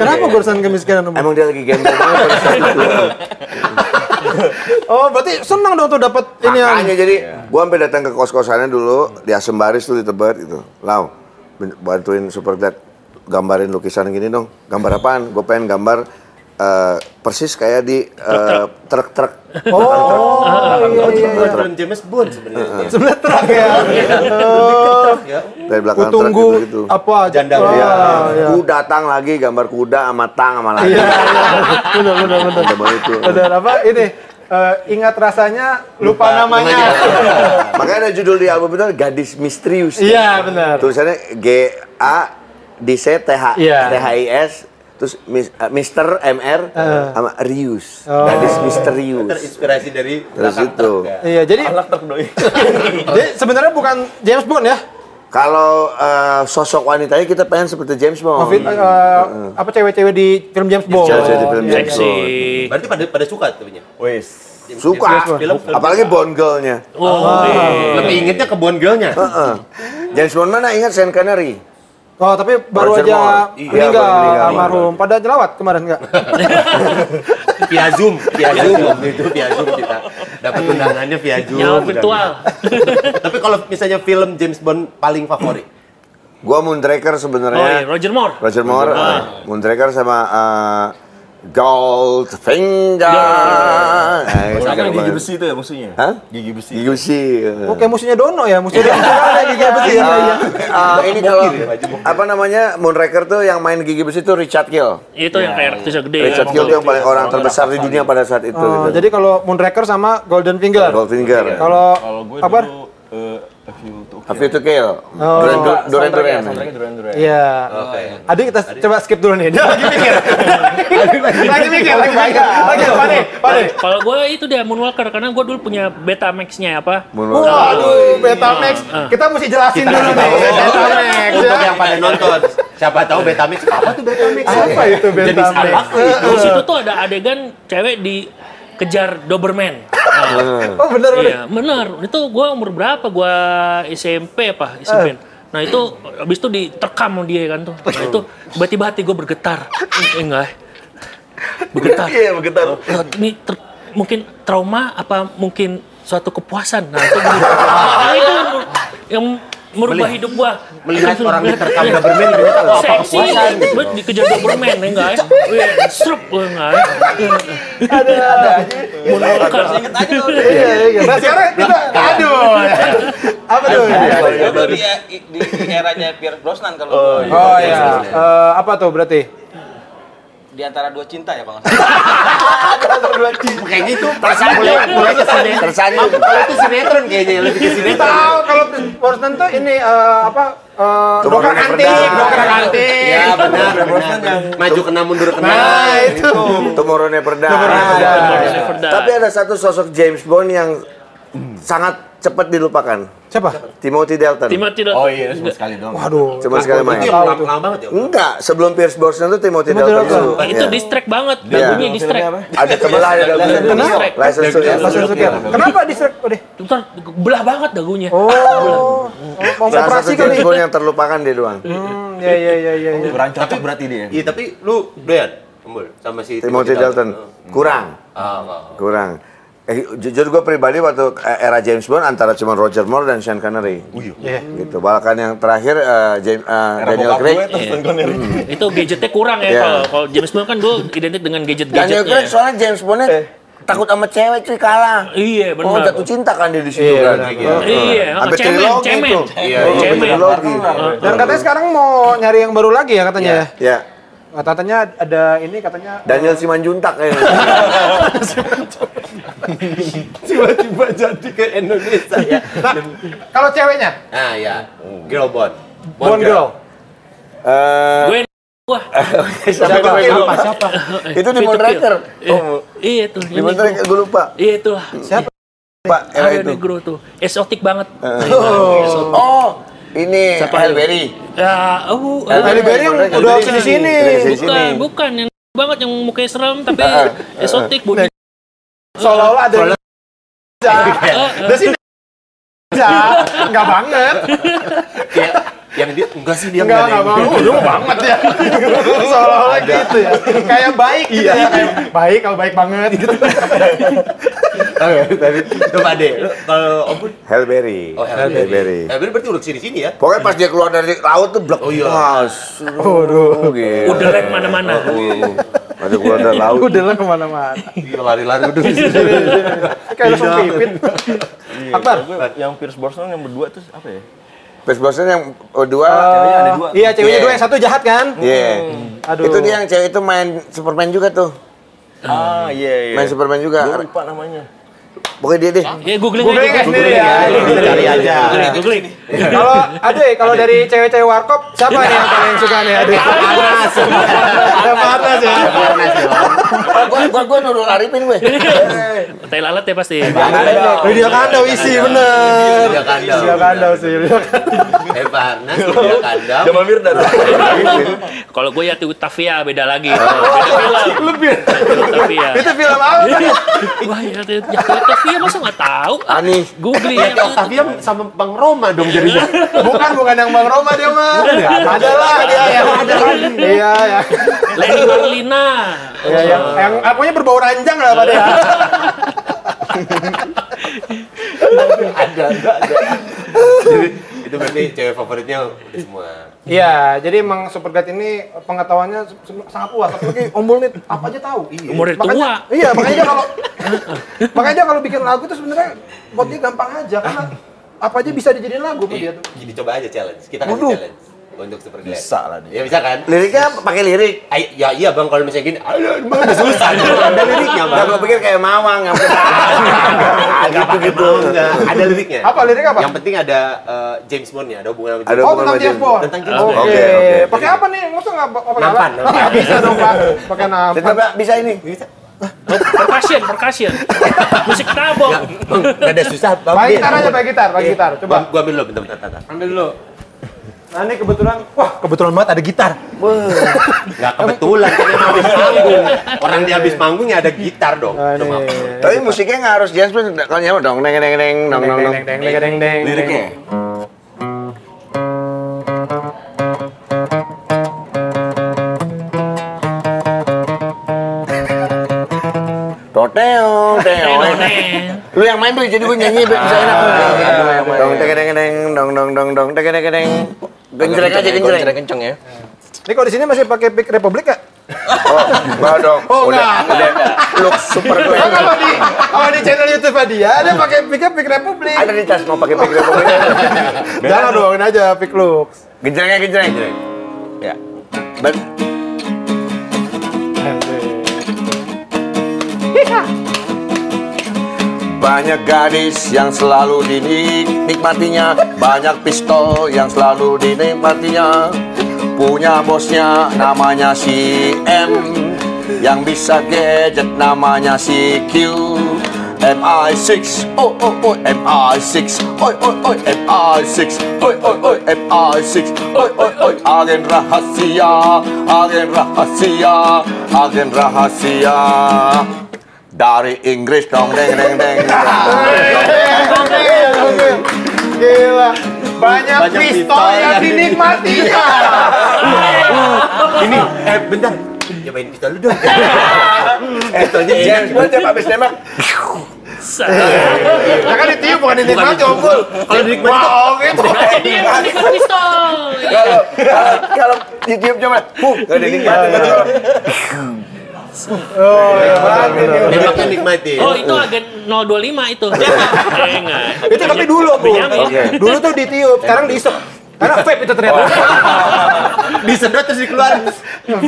Speaker 2: Kenapa goresan kemiskinan? Om?
Speaker 3: Emang dia lagi gembel banget pada saat itu.
Speaker 2: Oh, berarti senang dong tuh dapat ini yang
Speaker 3: Makanya jadi gue sampai datang ke kos-kosannya dulu di Asem Baris tuh di Tebet gitu. Lau, ben- bantuin Super Dad gambarin lukisan gini dong. Gambar apaan? Gue pengen gambar eh, persis kayak di eh, truk-truk.
Speaker 2: Oh, iya iya.
Speaker 5: Bukan film James Bond sebenarnya.
Speaker 2: Sebelah truk ya. Eh,
Speaker 3: Dari
Speaker 2: Ku
Speaker 3: belakang truk
Speaker 2: tunggu
Speaker 3: gitu.
Speaker 2: apa aja.
Speaker 5: Janda
Speaker 2: Wah,
Speaker 3: Iya.
Speaker 2: iya.
Speaker 3: Ku datang lagi gambar kuda sama tang sama lagi.
Speaker 2: Iya, iya. Benar benar benar.
Speaker 3: Gambar itu.
Speaker 2: Benar apa ini? eh, ingat rasanya, lupa, namanya.
Speaker 3: Makanya ada judul di album itu Gadis Misterius.
Speaker 2: Iya, benar.
Speaker 3: Tulisannya G A D C T H
Speaker 2: Iya.
Speaker 3: T H I S terus mis- eh, Mister MR sama Rius.
Speaker 2: Eh. Oh.
Speaker 3: Gadis misterius.
Speaker 5: Terinspirasi dari
Speaker 3: Terus
Speaker 5: belakang
Speaker 3: itu.
Speaker 5: truk, ya?
Speaker 2: Iya, jadi Jadi sebenarnya bukan James Bond ya.
Speaker 3: Kalau eh, sosok wanitanya kita pengen seperti James Bond.
Speaker 2: Covid eh, apa cewek-cewek di film James Bond.
Speaker 3: Oh, iya. Cewek-cewek di film
Speaker 2: Iya,
Speaker 3: James
Speaker 4: Seksi.
Speaker 5: Berarti pada pada suka tuh punya.
Speaker 3: Suka.
Speaker 5: Film- film-
Speaker 3: Apalagi Bond girl-nya.
Speaker 4: Oh, iya.
Speaker 5: Lebih ingetnya ke Bond Girl-nya.
Speaker 3: Heeh. James Bond mana ingat Sean Connery?
Speaker 2: Oh, tapi baru
Speaker 3: Roger
Speaker 2: aja
Speaker 3: Moore. Iya,
Speaker 2: meninggal
Speaker 3: baru meninggal. Iya.
Speaker 2: almarhum. Pada jelawat kemarin enggak?
Speaker 5: Via Zoom, via Zoom waktu itu via Zoom kita dapat undangannya via Zoom.
Speaker 4: Nyawa virtual.
Speaker 5: Tapi kalau misalnya film James Bond paling favorit,
Speaker 3: Gua Moonraker
Speaker 4: Oh, iya.
Speaker 3: sebenarnya.
Speaker 4: Roger Moore.
Speaker 3: Roger Moore,
Speaker 4: Moore.
Speaker 3: eh, Moonraker sama eh, Goldfinger. Nah, itu
Speaker 10: Misalkan
Speaker 3: keren
Speaker 10: gigi
Speaker 3: banget.
Speaker 10: besi itu ya musuhnya?
Speaker 3: Hah?
Speaker 10: Gigi besi.
Speaker 3: Gigi besi.
Speaker 2: Oh, kayak musuhnya Dono ya, musuhnya Dono kayak gigi besi ya.
Speaker 3: Eh, eh, ini kalau apa namanya Moonraker tuh yang main gigi besi tuh Richard Kill.
Speaker 4: Itu yang kayak raksasa gede.
Speaker 3: Richard
Speaker 4: ya,
Speaker 3: Kill tuh yang
Speaker 4: waktu
Speaker 3: paling
Speaker 4: itu.
Speaker 3: orang terbesar di dunia pada saat itu.
Speaker 2: Oh,
Speaker 3: gitu.
Speaker 2: jadi kalau Moonraker sama Golden Finger.
Speaker 3: Goldfinger.
Speaker 2: Kalau
Speaker 10: Kalau gue
Speaker 2: apa?
Speaker 10: dulu eh, A Few to Kill.
Speaker 3: Happy to Kill.
Speaker 2: Oh.
Speaker 3: Duran Duran- Duran
Speaker 10: Soundtracknya-
Speaker 3: Duran.
Speaker 10: soundtracknya Duran Duran.
Speaker 2: Iya.
Speaker 5: Oh,
Speaker 2: Adik kita coba skip dulu nih. Dia lagi mikir. lagi mikir, lagi mikir. Lagi apa nih? Apa nih?
Speaker 4: Kalau gue itu dia Moonwalker karena gue dulu punya Betamax-nya apa?
Speaker 3: Moonraker.
Speaker 2: Waduh, Betamax. Kita mesti jelasin dulu nih. Betamax.
Speaker 5: untuk
Speaker 2: ya.
Speaker 5: yang pada nonton, siapa tahu Betamix apa tuh Betamix?
Speaker 2: Apa itu Betamax?
Speaker 4: Apa? Di situ tuh ada adegan cewek dikejar Doberman. Nah,
Speaker 2: Oh, bener bener.
Speaker 4: iya, bener. Itu gue umur berapa? Gue SMP apa?
Speaker 5: Eh.
Speaker 4: SMP. Nah itu abis itu diterkam sama dia kan tuh. Nah itu tiba-tiba hati gue bergetar. Eh, enggak. eh. Bergetar.
Speaker 10: Iya, bergetar.
Speaker 4: Wah, ini ter- mungkin trauma apa mungkin suatu kepuasan nah itu, bener.
Speaker 5: Ah.
Speaker 4: Nah, itu yang merubah hidup gua
Speaker 5: Melihat
Speaker 4: Langsung
Speaker 5: orang
Speaker 4: melihat,
Speaker 5: diterkam
Speaker 4: iya.
Speaker 5: Doberman, ternyata kok apa
Speaker 4: seksi
Speaker 5: kepuasan gitu.
Speaker 4: bet dikejar Doberman ya enggak ya Wih, serup ya
Speaker 5: Iya,
Speaker 4: enggak ya ada ada
Speaker 2: Iya, iya, iya. Nah, sekarang kita aduh. Apa tuh?
Speaker 5: iya,
Speaker 11: Gue dulu di, di, di eranya Pierce Brosnan kalau gua.
Speaker 2: Oh iya. Eh, apa tuh berarti?
Speaker 11: di antara dua cinta ya kalau nggak salah.
Speaker 5: Kayaknya itu perasaan mulai mulai ke sinetron. Kalau itu sinetron kayaknya lebih ke sinetron.
Speaker 2: Tahu kalau Brosnan tuh ini eh, apa? eh, dokter
Speaker 3: Never
Speaker 2: antik,
Speaker 3: Die.
Speaker 2: dokter antik.
Speaker 5: Ya benar, benar. Maju kena mundur kena.
Speaker 2: Nah, itu.
Speaker 3: Tomorrow Never Die.
Speaker 4: Never Die.
Speaker 3: Tapi ada satu sosok James Bond yang sangat cepat dilupakan.
Speaker 2: Siapa?
Speaker 3: Timothy Dalton.
Speaker 4: Timah tidak
Speaker 10: Oh iya, cuma sekali doang.
Speaker 2: Waduh.
Speaker 3: Cuma sekali main.
Speaker 5: Itu yang lama banget ya.
Speaker 3: Enggak, sebelum Pierce Brosnan tuh Timothy
Speaker 2: Timothy
Speaker 3: Dalton.
Speaker 2: Dalton.
Speaker 3: dulu.
Speaker 4: Wah, Nah, itu
Speaker 3: Iya.
Speaker 4: distract banget
Speaker 3: Iya.
Speaker 4: lagunya distract
Speaker 3: Ada tebelah ada Dalton.
Speaker 2: Kenapa?
Speaker 3: License to Ill.
Speaker 2: Langsung suka. Kenapa distract? Oh, deh.
Speaker 4: Bentar, belah banget lagunya
Speaker 2: Oh, mau
Speaker 3: Salah
Speaker 2: operasi
Speaker 3: satu
Speaker 2: kali.
Speaker 3: James Bond yang terlupakan dia doang.
Speaker 2: Hmm, ya ya ya ya. ya.
Speaker 10: Kurang cocok berarti dia.
Speaker 5: Iya tapi lu doyan Embul, sama si
Speaker 3: Timothy Dalton. Kurang.
Speaker 5: Ah, ah.
Speaker 3: Kurang. Eh, jujur gue pribadi waktu eh, era James Bond antara cuma Roger Moore dan Sean Connery.
Speaker 2: Iya.
Speaker 3: Gitu. Bahkan yang terakhir eh, James, eh, Daniel Craig.
Speaker 4: itu gadgetnya kurang ya
Speaker 3: Iya.
Speaker 4: kalau kalau James Bond kan dulu identik dengan gadget
Speaker 3: Daniel Craig
Speaker 4: gadgetnya ya.
Speaker 3: soalnya James Bondnya takut sama cewek cuy kalah. Oh
Speaker 4: iya benar
Speaker 3: jatuh cinta kan dia di situ
Speaker 2: Iya,
Speaker 3: kan.
Speaker 2: benar.
Speaker 3: Heeh.
Speaker 4: Iya,
Speaker 3: Sampai
Speaker 4: cemen,
Speaker 3: trilogi
Speaker 4: cemen.
Speaker 3: tuh.
Speaker 4: Iya,
Speaker 3: Heeh,
Speaker 4: cemen.
Speaker 3: Trilogi.
Speaker 2: Dan katanya sekarang mau nyari yang baru lagi ya katanya ya.
Speaker 3: Ya.
Speaker 2: Nah, katanya ada ini katanya
Speaker 3: Daniel Simanjuntak ya.
Speaker 5: Tiba-tiba jadi ke Indonesia ya.
Speaker 2: kalau ceweknya
Speaker 5: Nah ya, girl bond.
Speaker 2: Bond girl.
Speaker 3: Eh,
Speaker 4: gue wah
Speaker 3: siapa siapa? Itu di
Speaker 4: Fit to
Speaker 3: Moonraker.
Speaker 4: Kill. Iya. Iya tuh.
Speaker 3: Di Moonraker gue lupa.
Speaker 4: Iya itu lah. Siapa?
Speaker 3: Pak era
Speaker 4: Ada
Speaker 3: itu.
Speaker 4: negro tuh. Eksotik banget.
Speaker 3: Oh, ini
Speaker 4: Siapa?
Speaker 3: Halle Berry.
Speaker 4: Ya, oh, eh,
Speaker 2: Halle Berry yang
Speaker 3: Moonraker.
Speaker 2: udah sini-sini.
Speaker 3: Dari sini.
Speaker 4: bukan, bukan yang banget yang mukanya serem tapi eksotik Eh, bunyi.
Speaker 2: Seolah-olah ada
Speaker 4: Eh, eh,
Speaker 2: Bisa, enggak banget.
Speaker 5: Yang dia enggak sih dia
Speaker 2: Enggak,
Speaker 5: enggak. ada
Speaker 2: enggak mau.
Speaker 5: yang-
Speaker 2: Lu banget ya. Seolah-olah gitu ya. Kayak baik gitu ya. Kayak baik kalau baik banget gitu.
Speaker 5: Oke, tapi coba deh. Lu Kalau Obun,
Speaker 3: Halle Berry.
Speaker 5: oh Halle
Speaker 3: Halle
Speaker 5: Berry.
Speaker 3: Berry.
Speaker 5: Halle Berry berarti udah sini sini ya.
Speaker 3: Pokoknya pas dia keluar dari laut tuh blek. Oh iya. Waduh. Gila.
Speaker 4: Udah lek mana-mana.
Speaker 5: Oh,
Speaker 3: Pas dia keluar dari laut.
Speaker 2: Udah lah kemana-mana.
Speaker 5: Gila lari-lari udah di sini.
Speaker 2: Kayak langsung pipit. Akbar.
Speaker 10: Yang Pierce Brosnan yang berdua tuh apa ya?
Speaker 3: Pierce Brosnan yang kedua.
Speaker 10: Ceweknya ada dua.
Speaker 2: Iya, ceweknya
Speaker 3: Iya.
Speaker 2: dua yang satu jahat kan?
Speaker 3: Iya.
Speaker 2: Aduh.
Speaker 3: Itu dia yang cewek itu main Superman juga tuh.
Speaker 10: Ah, iya iya.
Speaker 3: Main Superman juga.
Speaker 10: Gue lupa namanya.
Speaker 3: Pokoknya dia deh.
Speaker 4: Ya googling
Speaker 2: Googling
Speaker 4: aja.
Speaker 2: aja sendiri ya.
Speaker 12: Cari aja.
Speaker 4: Googling.
Speaker 2: Kalau aduh eh, kalau dari cewek-cewek warkop siapa nih yang paling suka nih aduh?
Speaker 4: Iya.
Speaker 12: Panas. Ada panas ya. Panas ya.
Speaker 3: Gua gua gua Nurul Arifin gue.
Speaker 4: Tai lalat ya pasti.
Speaker 2: Lydia Kandau isi bener.
Speaker 12: Dia kandang.
Speaker 2: Lydia Kandau Iya, sih. Lydia Kandau.
Speaker 12: Eh panas, dia kandang.
Speaker 13: Jamal Mirdad.
Speaker 4: Kalau gue ya Tiwi Tafia beda lagi. Beda film.
Speaker 2: Lebih.
Speaker 4: Tiwi Tafia.
Speaker 2: Itu film apa?
Speaker 4: Wah, iya, ya Tiwi ya, Tiwi Tafia masa nggak tahu?
Speaker 3: Anis.
Speaker 4: Googling
Speaker 5: Ya,
Speaker 4: ya.
Speaker 5: Octavia sama Bang Roma dong jadinya.
Speaker 2: Bukan bukan yang Bang Roma dia mah. Ada lah dia yang ada. Iya ya.
Speaker 4: Lenny Marlina.
Speaker 2: Ya yang yang apanya berbau ranjang lah pada ya.
Speaker 5: Jadi, itu berarti cewek favoritnya udah semua.
Speaker 2: Iya, jadi emang Supergat ini pengetahuannya se- se- sangat luas. Apalagi Om Bul nih apa aja tahu. Iya.
Speaker 4: Umurnya
Speaker 2: Makanya-
Speaker 4: tua.
Speaker 2: Iya, makanya dia kalau makanya dia kalau bikin lagu tuh sebenarnya buatnya gampang aja karena apa aja bisa dijadiin lagu
Speaker 5: Iya.
Speaker 2: sama dia tuh.
Speaker 5: Gini coba aja challenge. Kita kasih
Speaker 2: Waduh.
Speaker 5: challenge untuk super Glad. Bisa lah dia. Ya bisa kan?
Speaker 3: Liriknya pakai lirik.
Speaker 5: Ay, ya iya Bang kalau misalnya gini, aduh Bang susah. Ada liriknya,
Speaker 3: Nah,
Speaker 5: Bang.
Speaker 3: gua pikir kayak Mawang yang
Speaker 5: Gitu gitu. Ada liriknya.
Speaker 2: Apa lirik apa?
Speaker 5: Yang penting ada eh, James Bond-nya, ada hubungan sama
Speaker 3: Ada
Speaker 5: James
Speaker 2: oh,
Speaker 5: Bond.
Speaker 3: hubungan
Speaker 2: tentang
Speaker 3: sama
Speaker 2: James Bond.
Speaker 5: Tentang James
Speaker 2: Oke.
Speaker 5: Bond.
Speaker 3: Oke, oke.
Speaker 2: Pakai apa nih? Masa nggak pakai
Speaker 5: Nampan,
Speaker 2: alat? Nggak bisa dong, Pak. Pakai nampan.
Speaker 3: Coba bisa ini.
Speaker 4: Oh, percussion, percussion. Musik tabok.
Speaker 5: Bang, ada susah. Bang.
Speaker 2: Pakai gitar aja, pakai gitar, pakai gitar. Coba.
Speaker 5: Gua, gua ambil dulu bentar bentar. bentar.
Speaker 2: Ambil dulu. Nah, ini kebetulan, wah kebetulan banget ada gitar.
Speaker 5: Enggak kebetulan kan emang habis manggung. Orang dia habis manggungnya ada gitar dong.
Speaker 2: Nah,
Speaker 5: Coba.
Speaker 2: ini.
Speaker 3: Tapi musiknya nggak harus jazz band. Kalau nyaman dong, neng neng neng dong dong dong.
Speaker 2: Deng, deng, deng, deng, deng.
Speaker 3: Liriknya. Toteo, teo. Lu yang main tuh jadi gue nyanyi biar bisa enak. Dong teng teng teng dong dong dong dong teng teng teng. Genjreng aja genjreng.
Speaker 13: kenceng ya.
Speaker 2: Ini kalau di sini masih pakai pick ya? Republik nggak?
Speaker 3: Oh, enggak dong.
Speaker 2: Oh,
Speaker 3: udah, udah. Lu super gue.
Speaker 2: Nah, kalau di kalau di channel YouTube dia ada pakai pick pick Republik.
Speaker 3: Ada di tas mau pakai pikir
Speaker 2: Jangan doangin aja pick looks.
Speaker 3: Genjrengnya genjreng. Ya. Ben, Banyak gadis yang selalu dinikmatinya Banyak pistol yang selalu dinikmatinya Punya bosnya namanya si M Yang bisa gadget namanya si Q MI6, oi oi oi MI6, oi oi oi MI6, oi oi oi MI6, oi oi oi Agen rahasia, agen rahasia, agen rahasia dari Inggris dong deng deng deng.
Speaker 2: Gila. Banyak, pistol yang
Speaker 3: ya.
Speaker 2: dinikmatinya.
Speaker 5: Ini eh bentar. Cobain pistol lu dong.
Speaker 3: Pistolnya James Bond tiap habis nembak.
Speaker 2: Ya kan ditiup bukan dinikmati, Om Bul.
Speaker 5: Kalau dinikmati tuh-
Speaker 2: Wah, oke.
Speaker 4: Iya,
Speaker 3: Kalau kalau kalau ditiup cuma huh gak ada nikmat.
Speaker 2: Oh, ya mati dia.
Speaker 5: nembaknya nikmati.
Speaker 4: Oh, itu agen 025 itu. Eh, enggak.
Speaker 2: Itu tapi dulu, Bu.
Speaker 4: Benyamin.
Speaker 2: Dulu tuh ditiup, sekarang diisep. Karena vape itu ternyata.
Speaker 5: Disedot terus dikeluarin. nah,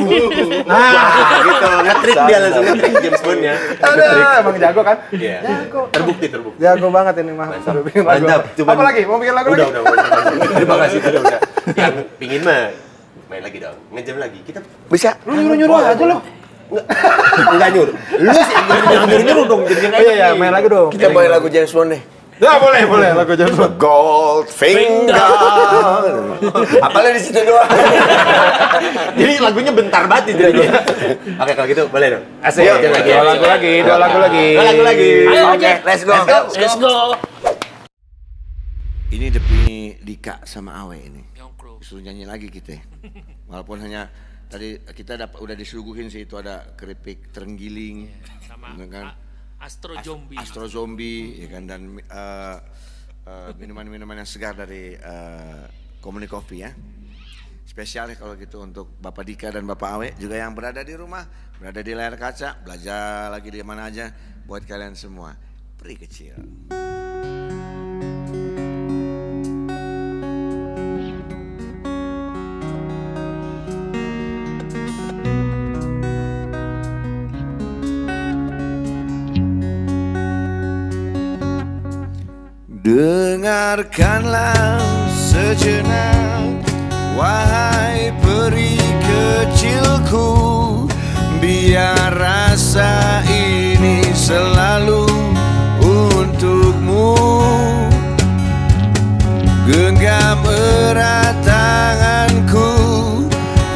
Speaker 5: gitu. Ngetrit dia langsung ngetrit James Bond-nya.
Speaker 2: Aduh, emang jago kan?
Speaker 5: Iya. Terbukti, terbukti.
Speaker 2: Jago banget ini mah.
Speaker 5: Mantap.
Speaker 2: Udah bikin lagu.
Speaker 5: Mantap, cuman-
Speaker 2: Apa lagi? Mau bikin lagu
Speaker 5: Udah,
Speaker 2: lagi?
Speaker 5: udah, udah. udah. Terima kasih, udah, udah. Yang pingin mah main lagi dong. Ngejam lagi. Kita
Speaker 3: Bisa.
Speaker 2: Lu nyuruh-nyuruh aja lu.
Speaker 5: enggak nyuruh. Lu sih yang nyuruh nyuruh dong jadinya
Speaker 2: Oh, iya, iya, main lagi dong.
Speaker 3: Kita boleh lagu James Bond deh.
Speaker 2: Ya boleh, boleh lagu James Bond.
Speaker 3: Gold Finger. Apalah di situ doang.
Speaker 5: Jadi lagunya bentar banget nih jadinya. Oke, kalau gitu boleh dong.
Speaker 2: Asik.
Speaker 5: Yuk, jam lagi.
Speaker 2: Dua lagu lagi, dua lagu lagi.
Speaker 5: Dua lagu lagi.
Speaker 3: Oke, let's go.
Speaker 4: Let's go.
Speaker 3: Ini demi Dika sama Awe ini. Disuruh nyanyi lagi kita. Walaupun hanya tadi kita dapat udah disuguhin sih itu ada keripik terenggiling.
Speaker 4: Iya, Sama
Speaker 3: Ya kan?
Speaker 4: A- Astro Zombie.
Speaker 3: Astro Zombie ya kan dan eh, eh, minuman-minuman yang segar dari eh, Komuni Coffee ya. Spesial ya kalau gitu untuk Bapak Dika dan Bapak Awe juga yang berada di rumah, berada di layar kaca, belajar lagi di mana aja buat kalian semua. Pri kecil.
Speaker 8: Dengarkanlah sejenak Wahai peri kecilku Biar rasa ini selalu untukmu Genggam erat tanganku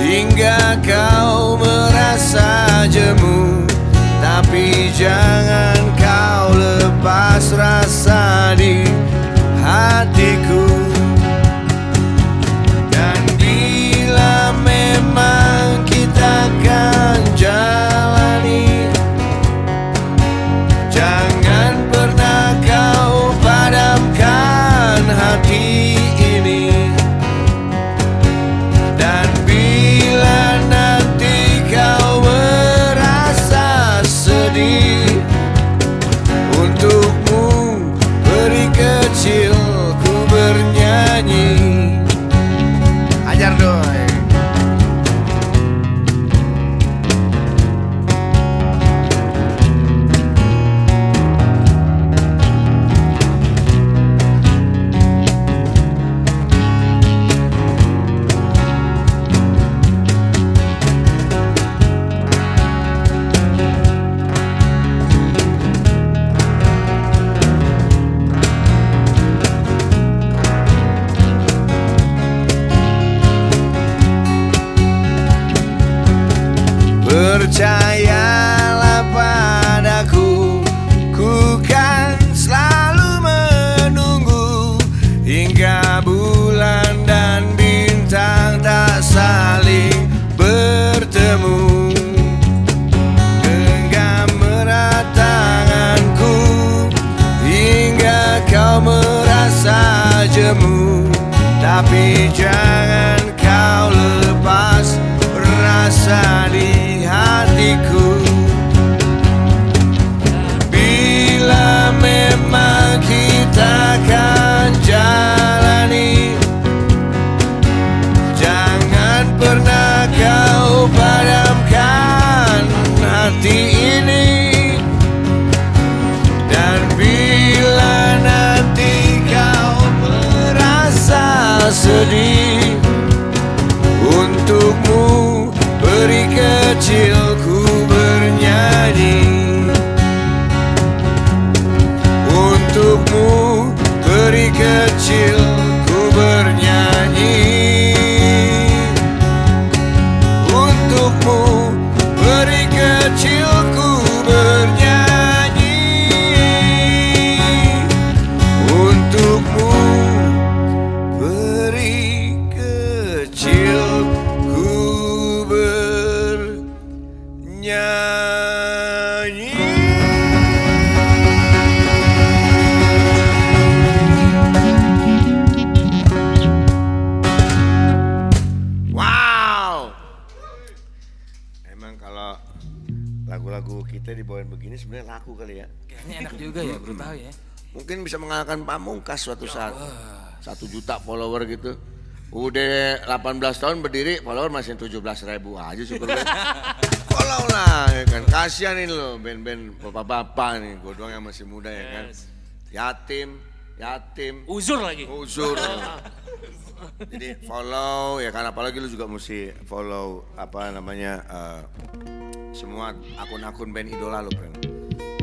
Speaker 8: Hingga kau merasa jemu Tapi jangan kau lepas rasa di hatiku dan bila memang kita akan jalani Jangan pernah kau padamkan hati ini Dan bila nanti kau merasa sedih Untukmu peri kecil ku bernyanyi Ajar doi Percayalah padaku Ku kan selalu menunggu Hingga bulan dan bintang tak saling bertemu Genggam erat tanganku Hingga kau merasa jemu Tapi jangan kau lepas rasa di hatiku Bila memang kita akan jalani Jangan pernah kau padamkan hati ini Dan bila nanti kau merasa sedih Untukmu peri kecilku bernyanyi Untukmu peri kecilku bernyanyi Untukmu peri kecilku bernyanyi Untukmu peri kecilku bernyanyi Wow.
Speaker 3: Emang kalau lagu-lagu kita dibawain begini sebenarnya laku kali ya.
Speaker 9: Kayaknya enak juga ya, baru tahu ya.
Speaker 3: Mungkin bisa mengalahkan Pamungkas suatu saat. Satu juta follower gitu. Udah 18 tahun berdiri, follower masih 17 ribu aja syukur. Kalau lah, ya kan. Kasian ini loh, band-band bapak-bapak nih. Gue doang yang masih muda ya kan. Yatim, yatim.
Speaker 4: Uzur lagi.
Speaker 3: Uzur. Jadi follow ya kan apalagi lu juga mesti follow apa namanya eh, semua akun-akun band idola lu Pren.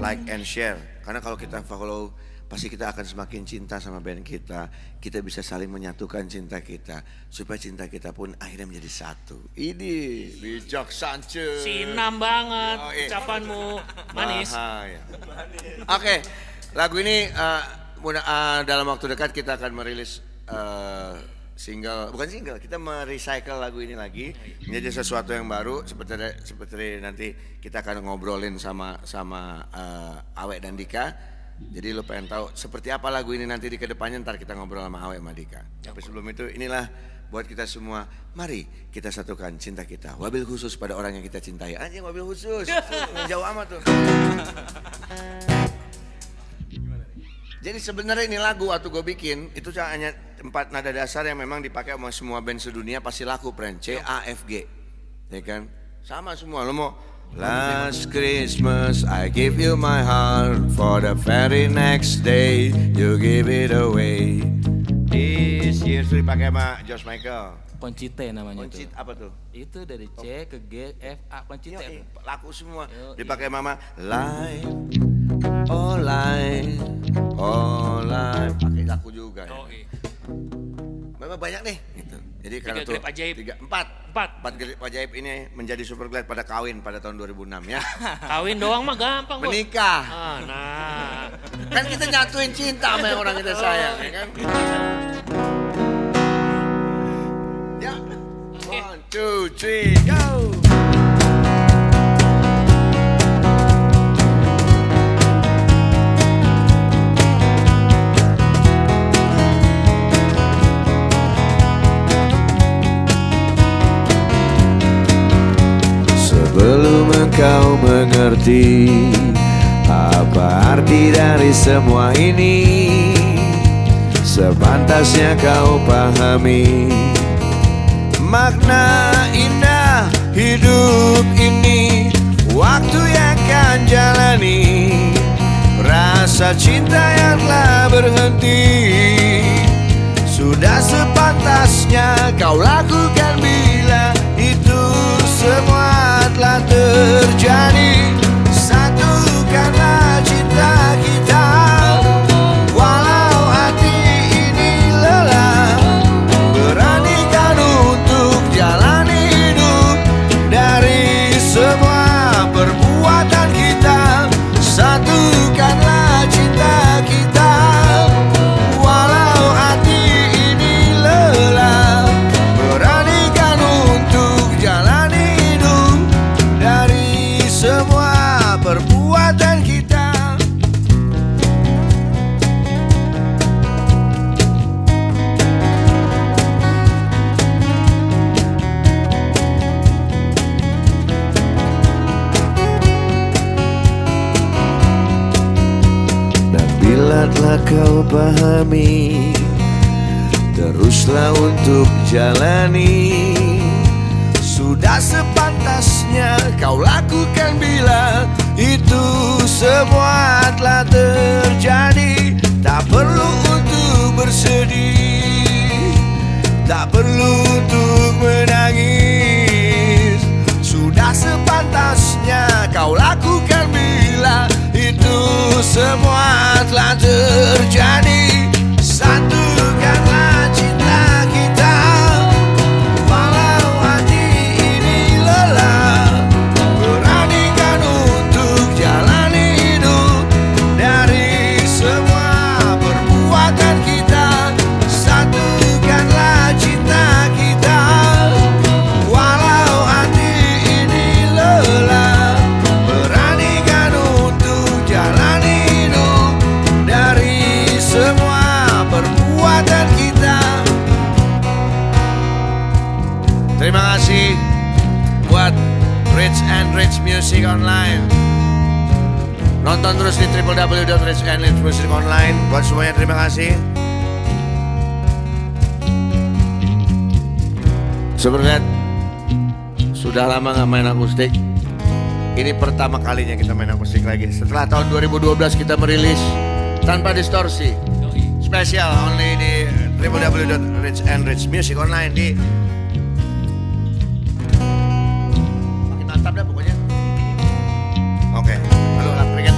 Speaker 3: Like and share karena kalau kita follow pasti kita akan semakin cinta sama band kita. Kita bisa saling menyatukan cinta kita supaya cinta kita pun akhirnya menjadi satu. Ini bijak Sanchez.
Speaker 4: Sinam banget
Speaker 3: Oh, iya.
Speaker 4: ucapanmu manis.
Speaker 3: Bahaya. iya. Oke, lagu ini eh, mudah, eh, dalam waktu dekat kita akan merilis eh, single, bukan single, kita merecycle lagu ini lagi menjadi sesuatu yang baru. Seperti seperti nanti kita akan ngobrolin sama sama eh, Awek dan Dika. Jadi lo pengen tahu seperti apa lagu ini nanti di kedepannya ntar kita ngobrol sama Awek sama Dika. Tapi sebelum itu inilah buat kita semua, mari kita satukan cinta kita. Wabil khusus pada orang yang kita cintai. Anjing wabil khusus. Jauh amat tuh. Jadi sebenarnya ini lagu waktu gue bikin itu cuma hanya empat nada dasar yang memang dipakai sama semua band sedunia pasti laku Pren C A F G ya kan sama semua lo mau
Speaker 8: Last Christmas I gave you my heart For the very next day you give it away This year sudah dipakai sama Josh Michael
Speaker 9: Concite namanya
Speaker 8: Concit
Speaker 9: tuh.
Speaker 8: apa tuh?
Speaker 9: Gitu.
Speaker 8: Oh.
Speaker 9: Itu dari C ke G F A Concite.
Speaker 8: Yoi,
Speaker 9: tuh.
Speaker 8: laku semua
Speaker 9: Yoi.
Speaker 8: dipakai mama live oh live oh live pakai laku juga
Speaker 9: Oh.
Speaker 8: ya.
Speaker 4: Yoi.
Speaker 8: memang banyak nih gitu. jadi
Speaker 4: Tiga
Speaker 8: karena tuh
Speaker 4: grip ajaib.
Speaker 8: tiga empat
Speaker 4: Empat.
Speaker 8: empat grip ajaib ini menjadi super glad pada kawin pada tahun 2006 ya
Speaker 4: Kawin doang mah gampang, Bos.
Speaker 8: menikah
Speaker 4: Ah, nah.
Speaker 8: kan kita nyatuin cinta sama yang orang kita sayang ya kan ya one two three go Sebelum engkau mengerti apa arti dari semua ini Sepantasnya kau pahami Makna indah hidup ini Waktu yang akan jalani Rasa cinta yang telah berhenti Sudah sepantasnya kau lakukan bila Itu semua telah terjadi Satukanlah cinta kita Walau hati ini lelah Beranikan untuk jalani hidup Dari semua perbuatan kita Satukanlah cinta kita Walau hati ini lelah Beranikan untuk jalani hidup Dari semua perbuatan kita Dan bila telah kau pahami Teruslah untuk jalani Sudah sepantasnya kau lakukan bila Itu semua telah terjadi Tak perlu untuk bersedih Tak perlu untuk menangis Sudah sepantasnya kau lakukan bila Itu semua telah terjadi Satukanlah cinta kita Walau hati ini lelah Beranikan untuk jalani hidup Dari semua perbuatan kita Satukanlah cinta kita Walau hati ini lelah Beranikan untuk jalani hidup Dari semua perbuatan kita Terima kasih buat Rich and Rich Music Online. Nonton terus di www.richandrichmusiconline. Buat semuanya terima kasih. Sebenarnya sudah lama nggak main akustik. Ini pertama kalinya kita main akustik lagi. Setelah tahun 2012 kita merilis tanpa distorsi. Spesial only di www.richandrichmusiconline di Makin mantap dah pokoknya. Oke, halo lap keringet.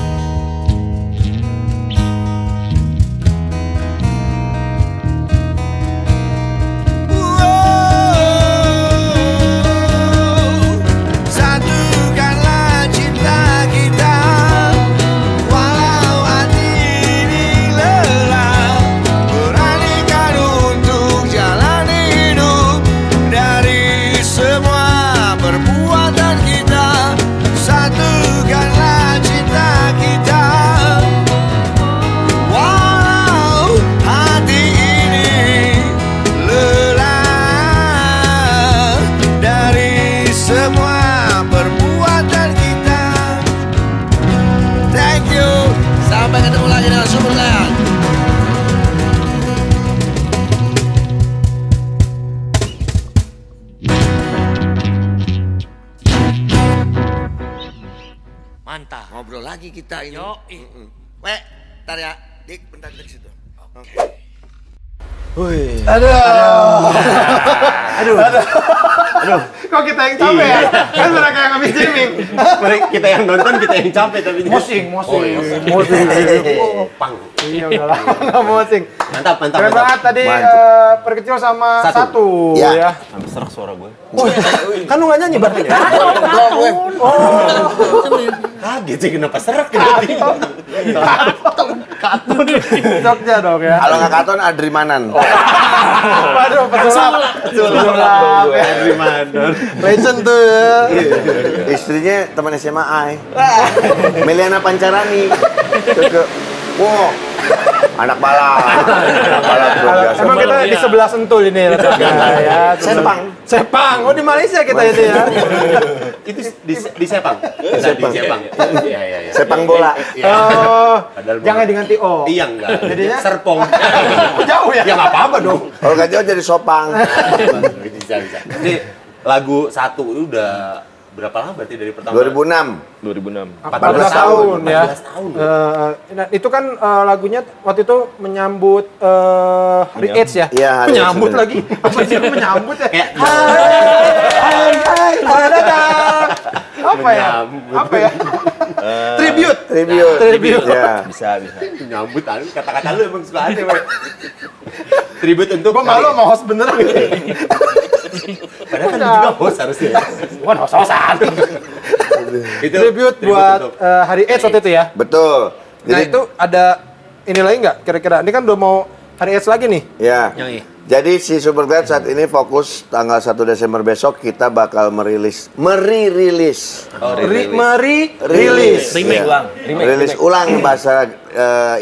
Speaker 8: Wow, satukanlah cinta kita. Walau hati ini lelah, beranikan untuk jalani hidup.
Speaker 4: Mantap.
Speaker 8: Ngobrol lagi kita ini.
Speaker 4: Yo,
Speaker 8: Mm-mm. Weh, ntar ya. Dik, bentar dik situ. Oke.
Speaker 2: Kok kita yang capek ya? Kan mereka yang habis streaming.
Speaker 5: Mari kita yang nonton kita yang capek tapi
Speaker 2: Mosing, mosing, mosing.
Speaker 5: Oh, pang.
Speaker 2: Iya udah lama nggak mosing.
Speaker 5: Mantap, mantap,
Speaker 2: Keren banget
Speaker 5: mantap.
Speaker 2: tadi
Speaker 3: Mantap.
Speaker 2: eh, perkecil sama
Speaker 5: Satu.
Speaker 2: satu, Oh, iya.
Speaker 3: Ya.
Speaker 2: ya.
Speaker 10: Hampir serak suara gue.
Speaker 5: Kan lu nggak nyanyi berarti.
Speaker 3: Blok, weh.
Speaker 5: Kaget sih kenapa serak gitu.
Speaker 2: Jogja dong ya.
Speaker 3: Kalau nggak katon Adrimanan.
Speaker 2: Waduh, Ah. pesulap. Pesulap. Legend tuh. ya.
Speaker 3: Iya. Istrinya teman SMA I. eh. Meliana Pancarani. Ceke. Wow. Anak balap. Anak balap luar biasa.
Speaker 2: Emang kita di sebelah sentul ini letaknya ya.
Speaker 3: Sepang.
Speaker 2: Sepang. Oh di Malaysia kita itu ya.
Speaker 5: Itu di, di Sepang. Di
Speaker 3: Sepang.
Speaker 5: Sepang. Iya, iya, iya.
Speaker 3: Sepang bola.
Speaker 2: Oh,
Speaker 5: Padahal
Speaker 2: jangan diganti O.
Speaker 5: Iya enggak.
Speaker 2: Jadinya?
Speaker 5: Serpong.
Speaker 2: Jauh ya.
Speaker 5: ya enggak apa-apa dong.
Speaker 3: Kalau nggak jauh jadi sopang.
Speaker 5: bisa bisa. Jadi lagu satu itu udah berapa lama berarti dari pertama?
Speaker 3: 2006.
Speaker 10: 2006.
Speaker 2: 14 tahun ya.
Speaker 5: 14 tahun.
Speaker 2: Eh, nah, itu kan eh, lagunya waktu itu menyambut eh, hari
Speaker 10: Menyambut.
Speaker 2: AIDS ya.
Speaker 3: Iya, hari
Speaker 2: menyambut
Speaker 3: AIDS.
Speaker 2: lagi. Apa sih menyambut ya?
Speaker 5: Kayak
Speaker 2: Hai, hai, hai, datang. Apa ya?
Speaker 5: Menyambut.
Speaker 2: Apa ya? Tribute.
Speaker 3: Tribute.
Speaker 2: Tribute. Iya.
Speaker 3: Ya.
Speaker 10: Bisa, bisa.
Speaker 5: nyambut anu kata-kata lu emang suka ada emang. Tribute untuk
Speaker 2: Gua malu sama host beneran.
Speaker 5: Padahal kan lu juga host harusnya.
Speaker 1: ya.
Speaker 2: Bukan host-hosan.
Speaker 5: Itu
Speaker 2: Tribute buat
Speaker 5: untuk-
Speaker 2: eh, hari AIDS waktu itu ya.
Speaker 3: Betul.
Speaker 2: Nah itu ada ini lagi nggak kira-kira? Ini kan udah mau hari AIDS lagi nih.
Speaker 3: Ya.
Speaker 4: Yoi.
Speaker 3: Jadi si Superglad saat ini fokus tanggal 1 Desember besok kita bakal merilis, meririlis,
Speaker 1: Oh,
Speaker 2: Ri- Iya. Meri
Speaker 3: rilis,
Speaker 4: Remake.
Speaker 3: ulang, rilis ulang bahasa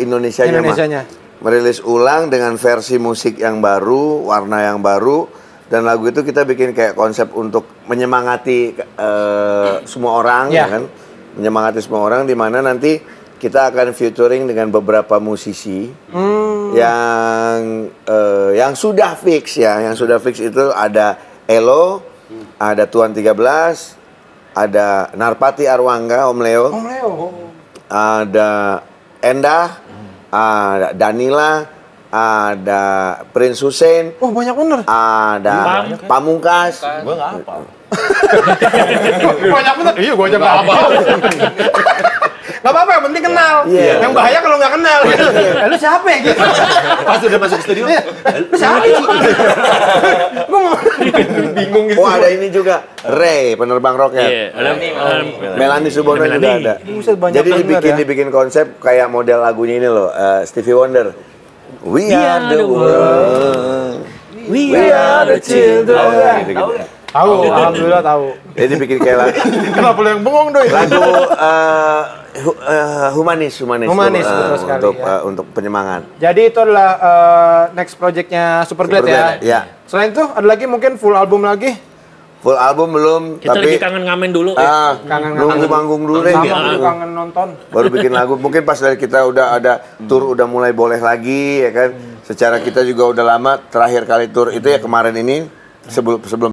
Speaker 3: Indonesia
Speaker 2: Indonesianya.
Speaker 3: merilis ulang dengan versi musik yang baru, warna yang baru, dan lagu itu kita bikin kayak konsep untuk menyemangati eh, semua orang,
Speaker 2: Ya.
Speaker 3: ya kan? Menyemangati semua orang, di mana nanti kita akan featuring dengan beberapa musisi yang eh, yang sudah fix ya, yang sudah fix itu ada Elo, ada Tuan 13, ada Narpati Arwangga, Om Leo
Speaker 2: Om Oh, Leo.
Speaker 3: ada Endah, ada Danila, ada Prince Hussein,
Speaker 2: Oh banyak bener.
Speaker 3: ada Pamungkas,
Speaker 10: Gue nggak apa.
Speaker 2: banyak bener. Iya gua aja nggak apa. Gak apa-apa, yang penting kenal.
Speaker 3: Iya.
Speaker 2: Yang bahaya kalau nggak kenal. Eh, lu siapa ya? Gitu.
Speaker 1: Eh,
Speaker 5: pas udah masuk studio
Speaker 1: Iya.
Speaker 2: Lu siapa? Gue mau bingung gitu.
Speaker 3: oh ada ini juga Ray penerbang roket.
Speaker 4: Iya, alam- alam-
Speaker 3: Melani Subono juga ada.
Speaker 2: Buset, banyak
Speaker 3: Jadi
Speaker 2: bener
Speaker 3: dibikin
Speaker 2: ya.
Speaker 3: dibikin konsep kayak model lagunya ini loh, eh, Stevie Wonder. We are the world.
Speaker 4: We
Speaker 3: We are the children.
Speaker 2: Iya.
Speaker 3: Gitu. Gitu-gitu.
Speaker 2: Tahu, alhamdulillah tahu.
Speaker 3: Jadi dibikin kayak lagu,
Speaker 2: Kenapa lu yang bengong doi?
Speaker 3: lagu eh, hu- eh, humanis, humanis,
Speaker 2: Humanis,
Speaker 3: eh,
Speaker 2: betul sekali,
Speaker 3: untuk
Speaker 2: ya.
Speaker 3: eh, untuk penyemangat.
Speaker 2: Jadi itu adalah eh, next projectnya Superglad ya.
Speaker 3: Superglad, ya.
Speaker 2: Selain itu ada lagi mungkin full album lagi.
Speaker 3: Full album belum,
Speaker 4: Kita
Speaker 3: tapi
Speaker 4: lagi kangen ngamen dulu. ya.
Speaker 3: ah,
Speaker 2: Kangen
Speaker 3: nunggu manggung dulu deh.
Speaker 2: Sama gua kangen nonton.
Speaker 3: Baru bikin lagu. Mungkin pas dari kita udah ada tour udah mulai boleh lagi ya kan. Secara kita juga udah lama terakhir kali tour itu ya kemarin ini sebelum sebelum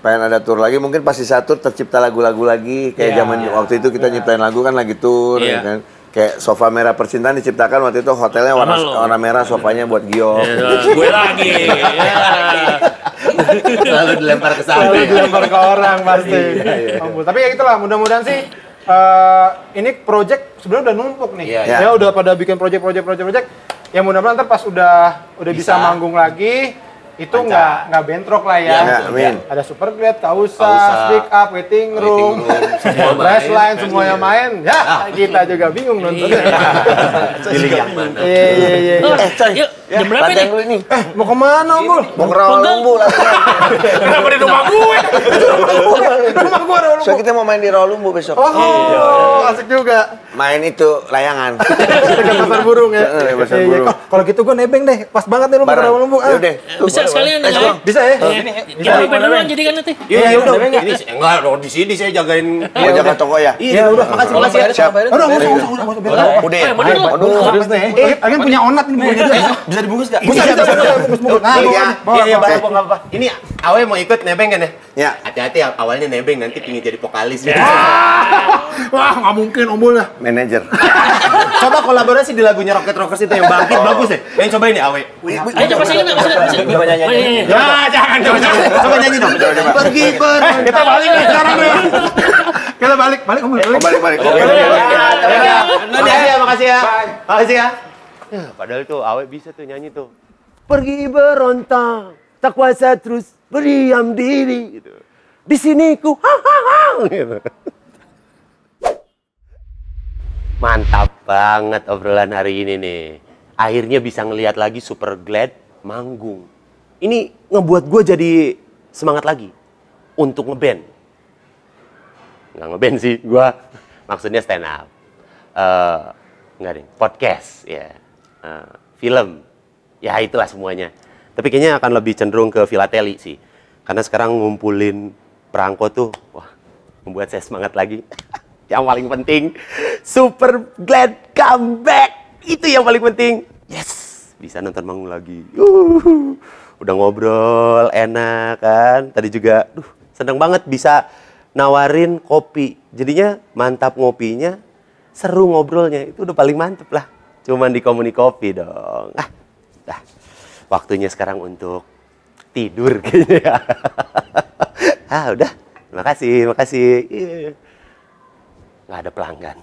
Speaker 3: pengen ada tour lagi mungkin pas di satu tercipta lagu-lagu lagi kayak zaman waktu itu kita nyiptain lagu kan lagi tour ya
Speaker 4: Iya.
Speaker 3: kan. Kayak sofa merah percintaan diciptakan waktu itu hotelnya warna
Speaker 4: Sama lo.
Speaker 3: warna merah sofanya buat Gio.
Speaker 4: Eh, gue lagi. Ya.
Speaker 5: selalu dilempar ke sana
Speaker 2: Lalu
Speaker 5: ya.
Speaker 2: dilempar ke orang pasti. Ampun. Tapi ya gitulah, mudah-mudahan sih eh, ini project sebenarnya udah numpuk nih.
Speaker 5: Iya,
Speaker 3: iya.
Speaker 2: Ya udah pada bikin project project project project. Ya mudah-mudahan ntar pas udah udah bisa,
Speaker 5: Bisa.
Speaker 2: manggung lagi itu nggak nggak bentrok lah ya.
Speaker 3: Iya, amin.
Speaker 2: Ada Superglad, Kausa,
Speaker 5: Kausa,
Speaker 2: Speak Up, Waiting Room,
Speaker 5: Room, semua main.
Speaker 2: Baseline, semua yang main. Ya, kita juga bingung nontonnya.
Speaker 5: Pilih yang mana?
Speaker 2: Iya, iya, iya.
Speaker 4: Oh, yuk, jam
Speaker 3: Eh,
Speaker 4: berapa
Speaker 3: Latihan
Speaker 4: nih?
Speaker 3: dulu ini.
Speaker 2: Eh, mau kemana, Gul?
Speaker 3: Mau ngerawat
Speaker 4: Pegang.
Speaker 3: lumbu latihan.
Speaker 4: Kenapa di rumah gue?
Speaker 2: Rumah gua ada
Speaker 3: So kita mau main di Rawalumbu besok.
Speaker 2: Oh, asik juga.
Speaker 3: Main itu layangan.
Speaker 2: Dekat pasar burung ya.
Speaker 3: Heeh, pasar
Speaker 2: Iya, iya.
Speaker 3: burung.
Speaker 2: Kok- Kalau gitu gue nebeng deh. Pas banget nih lu ke
Speaker 3: Barang.
Speaker 2: Rawalumbu. Lumbu.
Speaker 3: Ya udah. Tuh,
Speaker 4: Ah. Bisa
Speaker 3: boleh,
Speaker 4: sekalian
Speaker 3: boleh.
Speaker 4: ya.
Speaker 3: Eh, Bang.
Speaker 2: Bisa ya?
Speaker 4: Ya, lebih dulu jadi kan nanti.
Speaker 5: Iya, iya, udah.
Speaker 2: Tapi enggak.
Speaker 5: Ini saya- enggak, kalau di sini saya jagain.
Speaker 3: Mau jaga toko ya?
Speaker 2: Iya, udah. Makasih, makasih ya.
Speaker 3: Siap.
Speaker 2: Aduh, nggak usah, nggak usah, nggak usah. Biar tahu.
Speaker 3: Udah.
Speaker 4: Eh, bener lu.
Speaker 2: Terus nih. Eh, agen punya onat ini punya dia.
Speaker 1: bisa dibungkus nggak?
Speaker 2: Bisa, bisa, bisa, bisa, bungkus, bungkus. Nah,
Speaker 1: iya,
Speaker 2: bawa,
Speaker 1: iya, iya,
Speaker 2: bawa,
Speaker 1: bawa, bawa, nggak apa-apa. Ini Awe mau ikut nebeng kan ya?
Speaker 3: Ya.
Speaker 1: Hati-hati ya, awalnya nebeng nanti pingin jadi vokalis.
Speaker 4: Ya.
Speaker 2: Wah, nggak mungkin Om Bul dah.
Speaker 3: Manager.
Speaker 1: Coba kolaborasi di lagunya Rocket Rockers itu yang bangkit bagus ya. Yang cobain ya Awe.
Speaker 4: Ayo coba sini nggak? Coba sini.
Speaker 5: Coba nyanyi.
Speaker 4: Oh, iya, iya.
Speaker 1: Ah, jangan, jangan, jangan. Coba nyanyi dong. Pergi pergi.
Speaker 2: Kita balik nih sekarang nih. Kita balik, balik Om Bul.
Speaker 3: Oh, balik balik. Oke.
Speaker 1: Iya, Makasih ya, makasih ya. Makasih ya. Ya, Padahal tuh Awe bisa tuh nyanyi tuh. Pergi berontang, tak kuasa terus berdiam diri. Gitu. Di sini ku ha ha ha gitu. Mantap banget obrolan hari ini nih. Akhirnya bisa ngelihat lagi Super Glad manggung. Ini ngebuat gue jadi semangat lagi untuk ngeband. Nggak ngeband sih, gue maksudnya stand up. Eh, nggak deh, podcast, ya. Eh, film, ya itulah semuanya. Tapi kayaknya akan lebih cenderung ke filateli sih. Karena sekarang ngumpulin perangko tuh, wah, membuat saya semangat lagi. yang paling penting, super glad comeback. Itu yang paling penting. Yes, bisa nonton manggung lagi. Yuhu. Udah ngobrol, enak kan. Tadi juga, duh, seneng banget bisa nawarin kopi. Jadinya mantap ngopinya, seru ngobrolnya. Itu udah paling mantep lah. Cuman di Komuni Kopi dong. Ah, dah. Waktunya sekarang untuk tidur kayaknya ya. ah udah, makasih, makasih. Iya. Nggak ada pelanggan.